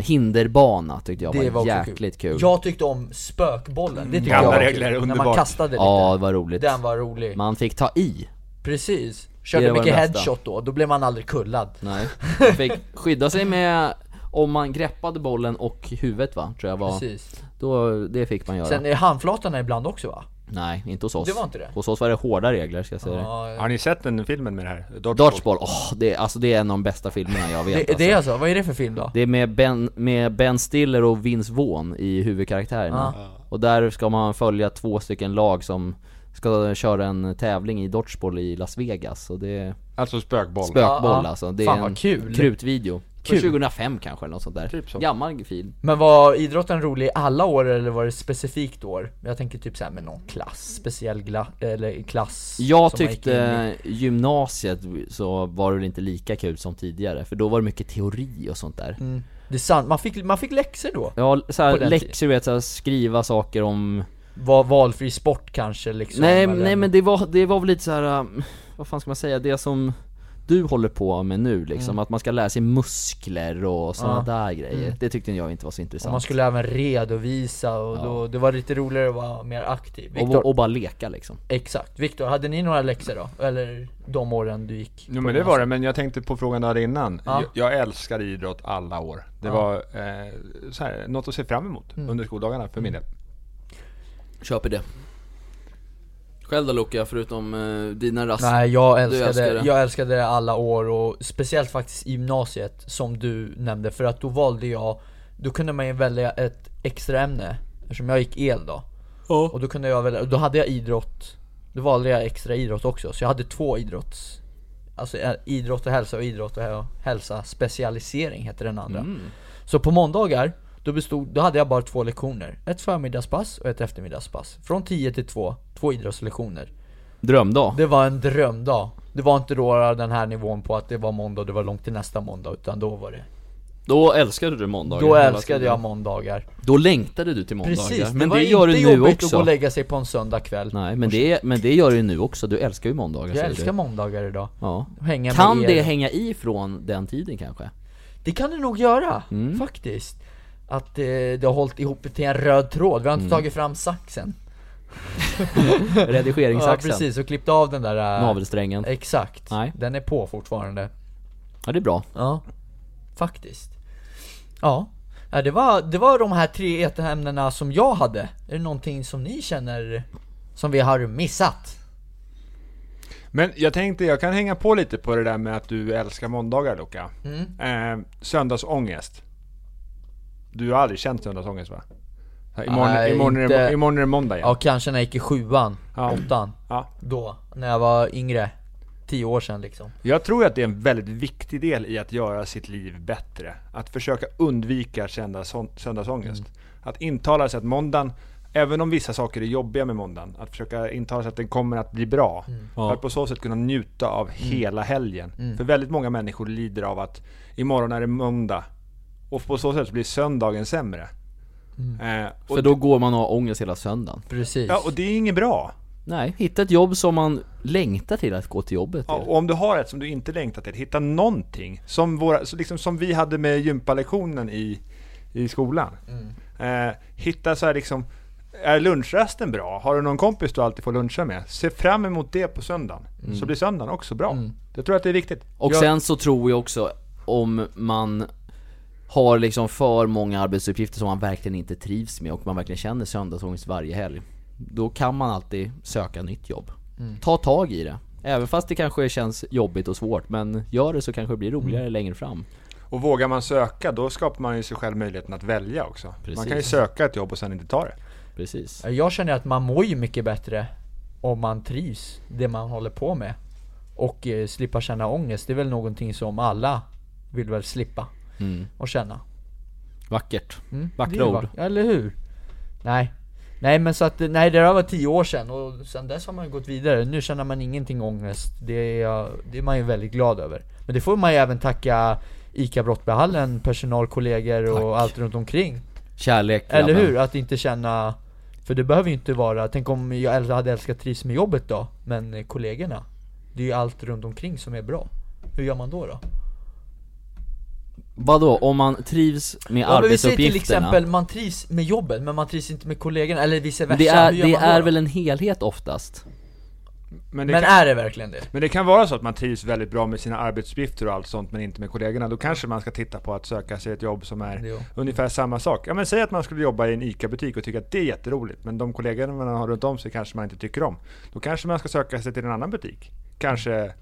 Hinderbana tyckte jag Det var, också jäkligt kul, Jag tyckte om spökbollen, det tyckte Gamla jag var regler, kul. När man underbart. kastade lite, Ja det var roligt den var rolig Man fick ta i, Precis, Det körde var mycket det bästa. headshot då, då blev man aldrig kullad nej Man fick skydda sig med, om man greppade bollen och huvudet va, tror jag var Precis. Då, det fick man göra Sen är handflatorna ibland också va? Nej, inte hos oss. Det var inte det? Hos oss var det hårda regler ska jag säga dig. Ja, Har ni sett den filmen med det här? Dodgeball. Dodgeball, åh, det, är- alltså det är en av de bästa filmerna jag vet det, alltså. det är alltså, vad är det för film då? Det är med ben, med ben Stiller och Vince Vaughn i huvudkaraktärerna. Och där ska man följa två stycken lag som ska köra en tävling i Dodgeball i Las Vegas. Och det är Alltså spökboll. spökboll Ja, ja. alltså. Det Fan, är vad en kul. krutvideo. Kul. Från 2005 kanske eller något sånt där. Typ så. Gammal film. Men var idrotten rolig i alla år eller var det specifikt år? Jag tänker typ såhär med någon klass, speciell gla- eller klass Jag som man gick in i. tyckte gymnasiet så var det väl inte lika kul som tidigare, för då var det mycket teori och sånt där. Det är sant, man fick, man fick läxor då. Ja, såhär Mm. På den läxor du vet, såhär, skriva saker om Var valfri sport kanske liksom. Nej, eller- nej men det var, det var väl lite så här. um, vad fan ska man säga, det som du håller på med nu liksom, Mm. att man ska lära sig muskler och sådana där grejer Det tyckte jag inte var så Och intressant Mm. man skulle även redovisa och Ja. då, det var lite roligare att vara mer aktiv. Viktor, och, och bara leka liksom exakt. Viktor, hade ni några läxor då? Eller de åren du Jo gick? på men det gymnasiet? var det, men jag tänkte på frågan där innan. Ja. Jag, jag älskar idrott alla år. Det var eh, så här, något att se fram emot Mm. under skoldagarna för min del. Köper det Själv då Luka, förutom eh, dina rast Nej, jag älskade, älskade. jag älskade det alla år och speciellt faktiskt i gymnasiet som du nämnde för att då valde jag, då kunde man ju välja ett extra ämne eftersom jag gick el då. Och då kunde jag välja, då hade jag idrott, då valde jag extra idrott också så jag hade två idrotts, alltså eh, idrott och hälsa och idrott och hä- hälsa specialisering heter den andra. Så på måndagar, då, bestod, då hade jag bara två lektioner. Ett förmiddagspass och ett eftermiddagspass. Från 10 till 2, två idrottslektioner. Drömdag Det var en drömdag. Det var inte då den här nivån på att det var måndag och det var långt till nästa måndag, utan då var det... Då älskade du måndagar Då hela älskade tiden. jag måndagar. Då längtade du till måndagar Precis, Men var det gör du inte nu jobbigt att gå också och lägga sig på en söndag kväll. Nej men det, men det gör du ju nu också, du älskar ju måndagar jag säger älskar du. måndagar idag. Ja. Hänga Kan med er. det hänga i från den tiden kanske? Det kan det nog göra, Mm. faktiskt. Att eh, det har hållit ihop till en röd tråd, vi har inte Mm. tagit fram saxen. [LAUGHS] Ja, Redigeringsaxeln? precis, och klippt av den där... eh, Navelsträngen? Exakt. Nej. Den är på fortfarande. Ja det är bra Ja, faktiskt. Ja, ja det, var, det var de här tre etämnena som jag hade. Är det någonting som ni känner som vi har missat? Men jag tänkte, jag kan hänga på lite på det där med att du älskar måndagar Luka. Mm. Eh, söndagsångest. Du har aldrig känt söndagsångest va? Så här, Imorgon, Nej, imorgon, är, inte- det, imorgon är det måndag igen. Ja, kanske när jag gick i sjuan, Ja. åttan. Ja. Då, när jag var yngre. Tio år sedan liksom. Jag tror att det är en väldigt viktig del i att göra sitt liv bättre. Att försöka undvika söndag- söndagsångest. Att intala sig att måndagen, även om vissa saker är jobbiga med måndagen, att försöka intala sig att den kommer att bli bra. För att på så sätt kunna njuta av hela helgen. För väldigt många människor lider av att imorgon är det måndag. Och på så sätt blir söndagen sämre. Eh, och För då går man och har ångest hela söndagen Precis. Ja, och det är inget bra. Nej, hitta ett jobb som man längtar till att gå till jobbet Ja, till. och om du har ett som du inte längtar till, hitta någonting. Som, våra, så liksom, som vi hade med gympalektionen i, i skolan. Eh, hitta så här liksom, är lunchrasten bra? Har du någon kompis du alltid får luncha med? Se fram emot det på söndagen. Så blir söndagen också bra. Jag tror att det är viktigt. Och jag, sen så tror jag också om man har liksom för många arbetsuppgifter som man verkligen inte trivs med och man verkligen känner söndagsångest varje helg. Då kan man alltid söka nytt jobb. Mm. Ta tag i det. Även fast det kanske känns jobbigt och svårt, men gör det så kanske det blir roligare Mm. längre fram. och vågar man söka, då skapar man ju sig själv möjligheten att välja också. Man kan ju Precis. söka ett jobb och sen inte ta det. Precis. Jag känner att man mår ju mycket bättre om man trivs det man håller på med. Och eh, slippa känna ångest, det är väl någonting som alla vill väl slippa. Mm. Och känna. Vackert. Mm. Det Vackra är ord. vackert, Eller hur? Nej. Nej men så att, nej det där var tio år sedan och sen dess har man ju gått vidare. Nu känner man ingenting ångest. Det är, jag- det är man ju väldigt glad över. Men det får man ju även tacka ICA Brottbyhallen, personalkollegor och Tack. allt runt omkring. Kärlek Eller grabben. hur? Att inte känna... För det behöver ju inte vara, tänk om jag äl- hade älskat trivs med jobbet då, men eh, kollegorna. Det är ju allt runt omkring som är bra. Hur gör man då då? Vadå, om man trivs med Ja, men vi säger arbetsuppgifterna? till exempel, man trivs med jobbet men man trivs inte med kollegorna, eller vice versa. Men det är, Hur gör det man då är då? väl en helhet oftast? Men det Men kan- är det verkligen det? Men det kan vara så att man trivs väldigt bra med sina arbetsuppgifter och allt sånt men inte med kollegorna. Då kanske man ska titta på att söka sig ett jobb som är Jo. ungefär samma sak. Ja, men säg att man skulle jobba i en ICA-butik och tycka att det är jätteroligt men de kollegorna man har runt om sig kanske man inte tycker om. Då kanske man ska söka sig till en annan butik. Kanske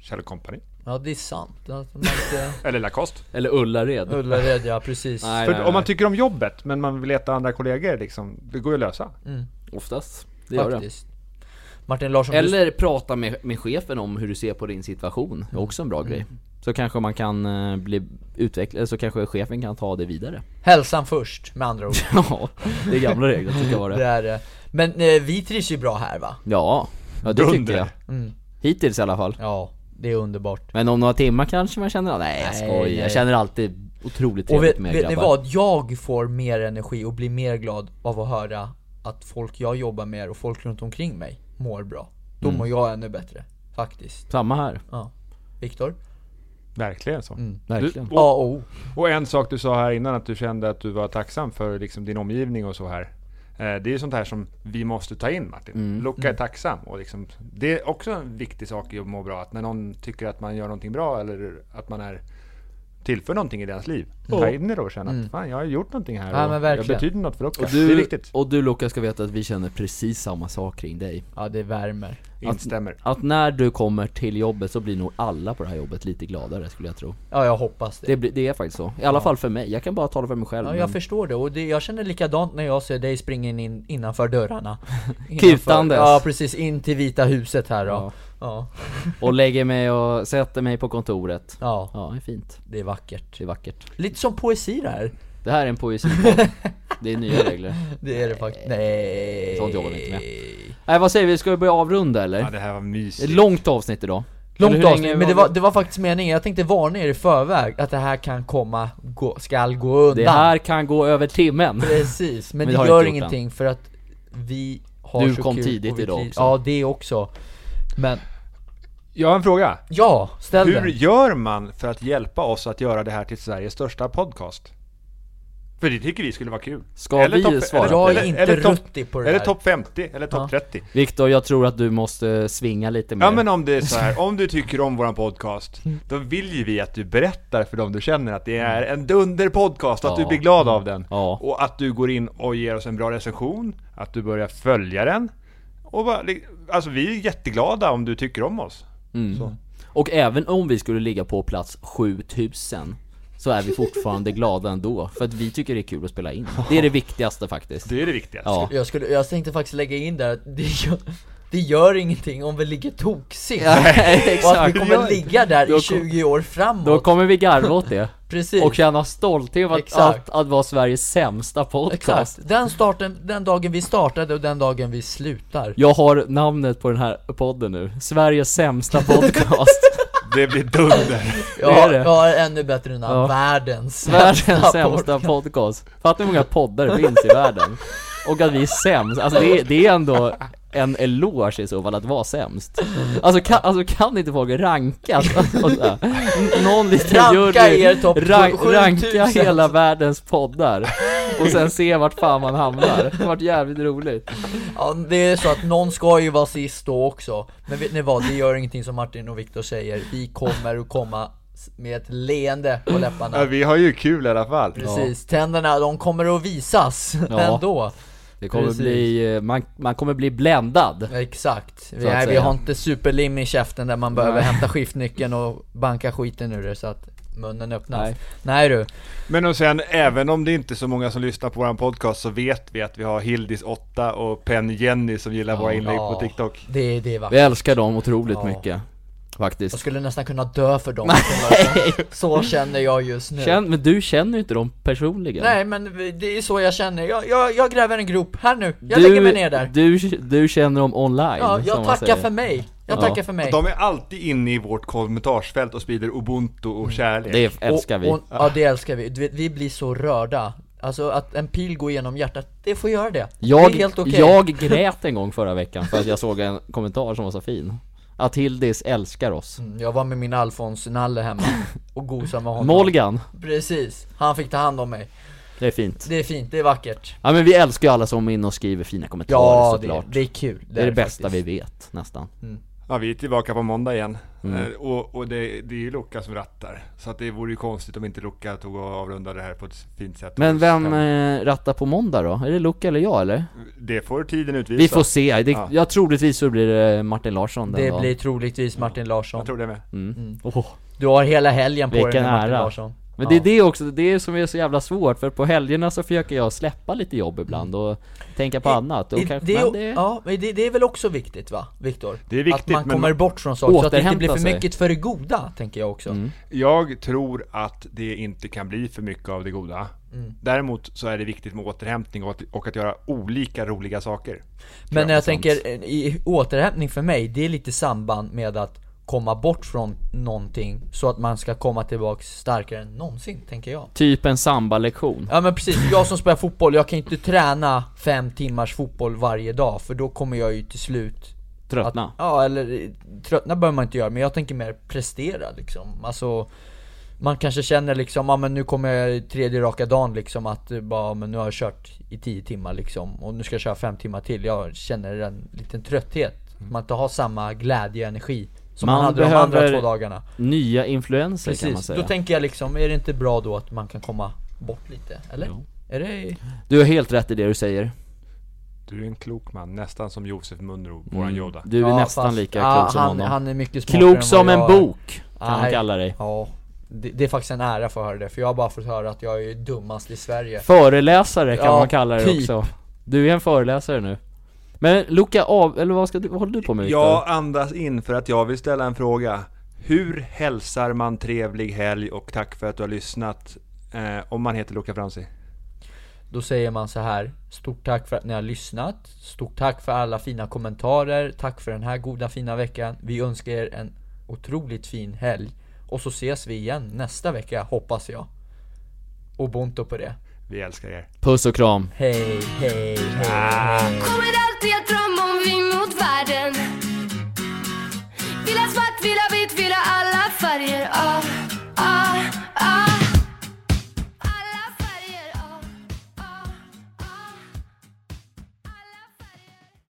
Kjell Company Ja det är sant. Att man inte... eller Lacoste. Eller Ullared? Ullared ja, precis. Nej, För nej, om man nej. tycker om jobbet men man vill leta andra kollegor, liksom, det går ju att lösa. Oftast, det gör det faktiskt. Martin Larsson, du- Eller prata med, med chefen om hur du ser på din situation, det är också en bra Mm. grej Så kanske man kan eh, bli utvecklad, så kanske chefen kan ta det [LAUGHS] vidare hälsan först [LAUGHS] med andra ord. Ja, det är gamla regler att det ska vara det det är det. Men eh, vi trivs ju bra här va? Ja, ja det tycker Dunder. jag Hittills i alla fall Ja, det är underbart. Men om några timmar kanske man känner, nej jag Nej, skojar, nej. jag känner alltid Otroligt Och trevligt vet, med vet ni grabbar. vad? Jag får mer energi och blir mer glad av att höra att folk jag jobbar med och folk runt omkring mig mår bra. Då Mm. mår jag ännu bättre. Faktiskt. Samma här, Ja. Viktor? Verkligen så. verkligen. Du, Ja, och, oh. och en sak du sa här innan, att du kände att du var tacksam för liksom din omgivning och så här. Eh, Det är ju sånt här som vi måste ta in Martin. Luca är tacksam. Och liksom, det är också en viktig sak i att må bra. Att när någon tycker att man gör någonting bra eller att man är tillför någonting i deras liv. Ta in det då och känna att fan, jag har gjort någonting här Ja, men och jag verkligen. betyder något för Luca. Och det är du, viktigt. och du Lukas ska veta att vi känner precis samma sak kring dig. Ja, det värmer. Instämmer. Att när du kommer till jobbet så blir nog alla på det här jobbet lite gladare skulle jag tro. Ja, jag hoppas det. Det, blir- det är faktiskt så. I alla fall för mig. Jag kan bara tala för mig själv. Ja, men- jag förstår det. Och det, jag känner likadant när jag ser dig springa in [LAUGHS] innanför dörrarna. Innanför- Kutandes. Ja, precis. In till Vita huset här Ja. då. Ja. och lägger mig och sätter mig på kontoret. Ja, Ja, det är fint. det är vackert. Det är vackert. Lite som poesi det här. Det här är en [LAUGHS] poesipodd. Det är nya regler. Det är det faktiskt. Nej. Sånt jobbar vi inte med. Nej, vad säger vi? Ska vi börja avrunda eller? Ja, det här var Det är mysigt. ett långt avsnitt idag. Eller Långt hur länge avsnitt, men det var, det var faktiskt meningen, jag tänkte varna er i förväg att det här kan komma, gå, skall gå undan Det här kan gå över [LAUGHS] timmen. Precis, men, Men det har det inte gör gjort ingenting för att vi har Du så kom kul tidigt och vi idag trivs. också. Ja, det också Men, Jag har en fråga. ja, ställ Hur den gör man för att hjälpa oss att göra det här till Sveriges största podcast? För det tycker vi skulle vara kul. Ska vi svara eller- på Jag är eller- inte eller topp- ruttig på det Eller där. topp 50, eller topp 30. Viktor, jag tror att du måste svinga lite mer. Ja men om det är så här, om du tycker om våran podcast, då vill ju vi att du berättar för dem du känner att det är en dunder podcast, att du Ja. blir glad av den. Ja. Och att du går in och ger oss en bra recension, att du börjar följa den. Och bara, alltså vi är jätteglada om du tycker om oss. Och även om vi skulle ligga på plats 7000 så är vi fortfarande glada ändå, för att vi tycker det är kul att spela in. Det är det viktigaste [LAUGHS] faktiskt. Det är det viktigaste. Ja. jag, skulle, jag tänkte faktiskt lägga in där att det gör, det gör ingenting om vi ligger toksist Och att [LAUGHS] vi Exakt. kommer ligga där Då kom- i 20 år Då framåt kommer vi garva åt [LAUGHS] det. Precis Och känna stolthet över att, Exakt. att, att vara Sveriges sämsta podcast. Exakt, den starten, den dagen vi startade och den dagen vi slutar Jag har namnet på den här podden nu. Sveriges [LAUGHS] sämsta podcast. Det blir dunder. Jag är har, det. jag har ännu bättre namn, Ja. [LAUGHS] världens Världens sämsta sämsta podcast. podcast. Fattar hur många poddar det finns i världen? Och att vi är sämst, alltså det är, det är ändå en eloge i så fall att vara sämst. Alltså kan, alltså kan inte folk ranka? Alltså, så här. N- någon liten Ranka jury, er topp rank, 7000. ranka hela världens poddar. Och sen se vart fan man hamnar. Det har varit jävligt roligt. Ja, det är så att någon ska ju vara sist då också Men vet ni vad, det gör ingenting som Martin och Viktor säger Vi kommer att komma s- med ett leende på Ja, läpparna vi har ju kul i alla fall. Precis, tänderna de kommer att visas [LAUGHS] Ja. ändå Det kommer Precis. bli, eh, man, man kommer bli bländad. Exakt, vi, att nej, vi säga. har inte superlim i käften där man behöver hämta skiftnyckeln och banka skiten ur det så att munnen öppnas Nej. Nej, nej du, Men och sen, även om det inte är så många som lyssnar på våran podcast så vet vi att vi har Hildis8 och Penny Jenny som gillar våra inlägg på Ja. TikTok. det, det är vackert Vi älskar dem otroligt Ja. mycket. Jag Faktiskt. skulle nästan kunna dö för dem Nej. [LAUGHS] Så känner jag just nu Känn, men du känner ju inte dem personligen. Nej men vi- det är så jag känner, jag, jag, jag gräver en grop, här nu, jag lägger mig ner där Du, du känner dem online Ja, som jag man tackar säger. för mig, jag Ja. tackar för mig De är alltid inne i vårt kommentarsfält och sprider ubuntu och kärlek. Mm. Det älskar och, vi Och, ja det älskar vi, du vet, vi blir så rörda Alltså att en pil går igenom hjärtat, det får göra det jag, Det är helt okej jag grät en gång förra veckan för att jag såg en kommentar som var så fin Att Hildis älskar oss Mm, jag var med min [LAUGHS] Alfons-nalle hemma och gosade med honom Molgan, Precis, han fick ta hand om mig det är fint Det är fint, det är vackert Ja men vi älskar ju alla som är inne och skriver fina kommentarer Ja, det, såklart det är kul Det är det bästa faktiskt. Mm. vi vet nästan Ja, vi är tillbaka på måndag igen. Mm. Eh, Och, och det, det är ju Luca som rattar. Så att det vore ju konstigt om inte Luca tog och avrundade det här på ett fint sätt. Men vem eh, rattar på måndag då? Är det Luca eller jag eller? Det får tiden utvisa. Vi får se, det, Ja. jag troligtvis så blir det Martin Larsson den Det dagen. blir troligtvis Martin Larsson Mm. Jag tror det med. Åh. Du har hela helgen på dig Vilken med Martin ära. Larsson Men det är det också, det är som är så jävla svårt för på helgerna så försöker jag släppa lite jobb ibland och tänka på annat och I- kanske, det, men det... det, Ja, men det, det är väl också viktigt va, Viktor? Det är viktigt, Att man men- kommer bort från saker, så att det inte Återhämta blir för sig. Mm. mycket för det goda, tänker jag också Jag tror att det inte kan bli för mycket av det goda. Däremot så är det viktigt med återhämtning och att, och att göra olika roliga saker. Men när jag sant. tänker, eh, i återhämtning för mig, det är lite samband med att komma bort från någonting så att man ska komma tillbaks starkare än någonsin, tänker jag. Typ en sambalektion. Ja men precis, jag som spelar fotboll, jag kan ju inte träna fem timmars fotboll varje dag för då kommer jag ju till slut Tröttna. Att, ja, eller eh, tröttna behöver man inte göra, men jag tänker mer prestera liksom. Alltså, man kanske känner liksom, ja men nu kommer jag i tredje raka dagen liksom att eh, bara, ja, men nu har jag kört i 10 timmar liksom och nu ska jag köra 5 timmar till. Jag känner en liten trötthet. Man inte har samma glädje och energi som man, Mm. Man hade de andra behöver- två dagarna. Nya influenser kan man Precis, då säga. tänker jag liksom, är det inte bra då att man kan komma bort lite? Eller? Jo. Är det... Du har helt rätt i det du säger. Du är en klok man, nästan som Josef Munro, våran Yoda. Du är Ja, nästan fast- lika ja, klok som han, honom. Han är mycket smartare än klok som vad en jag är. bok, kan man Nej. kalla dig. Ja, det, det är faktiskt en ära för att höra det, för jag har bara fått höra att jag är dummast i Sverige Föreläsare kan Ja, man kalla dig typ. också. Du är en föreläsare nu. Men Luka av, eller vad, ska du, vad håller du på med Viktor? Jag andas in för att jag vill ställa en fråga. Hur hälsar man trevlig helg och tack för att du har lyssnat eh, om man heter Luca Franzi? Då säger man så här Stort tack för att ni har lyssnat Stort tack för alla fina kommentarer Tack för den här goda fina veckan Vi önskar er en otroligt fin helg Och så ses vi igen nästa vecka, hoppas jag Och bonto på det Vi älskar er. Puss och kram. Hej, hej, hej Kommer alltid att drömma Ah, ah.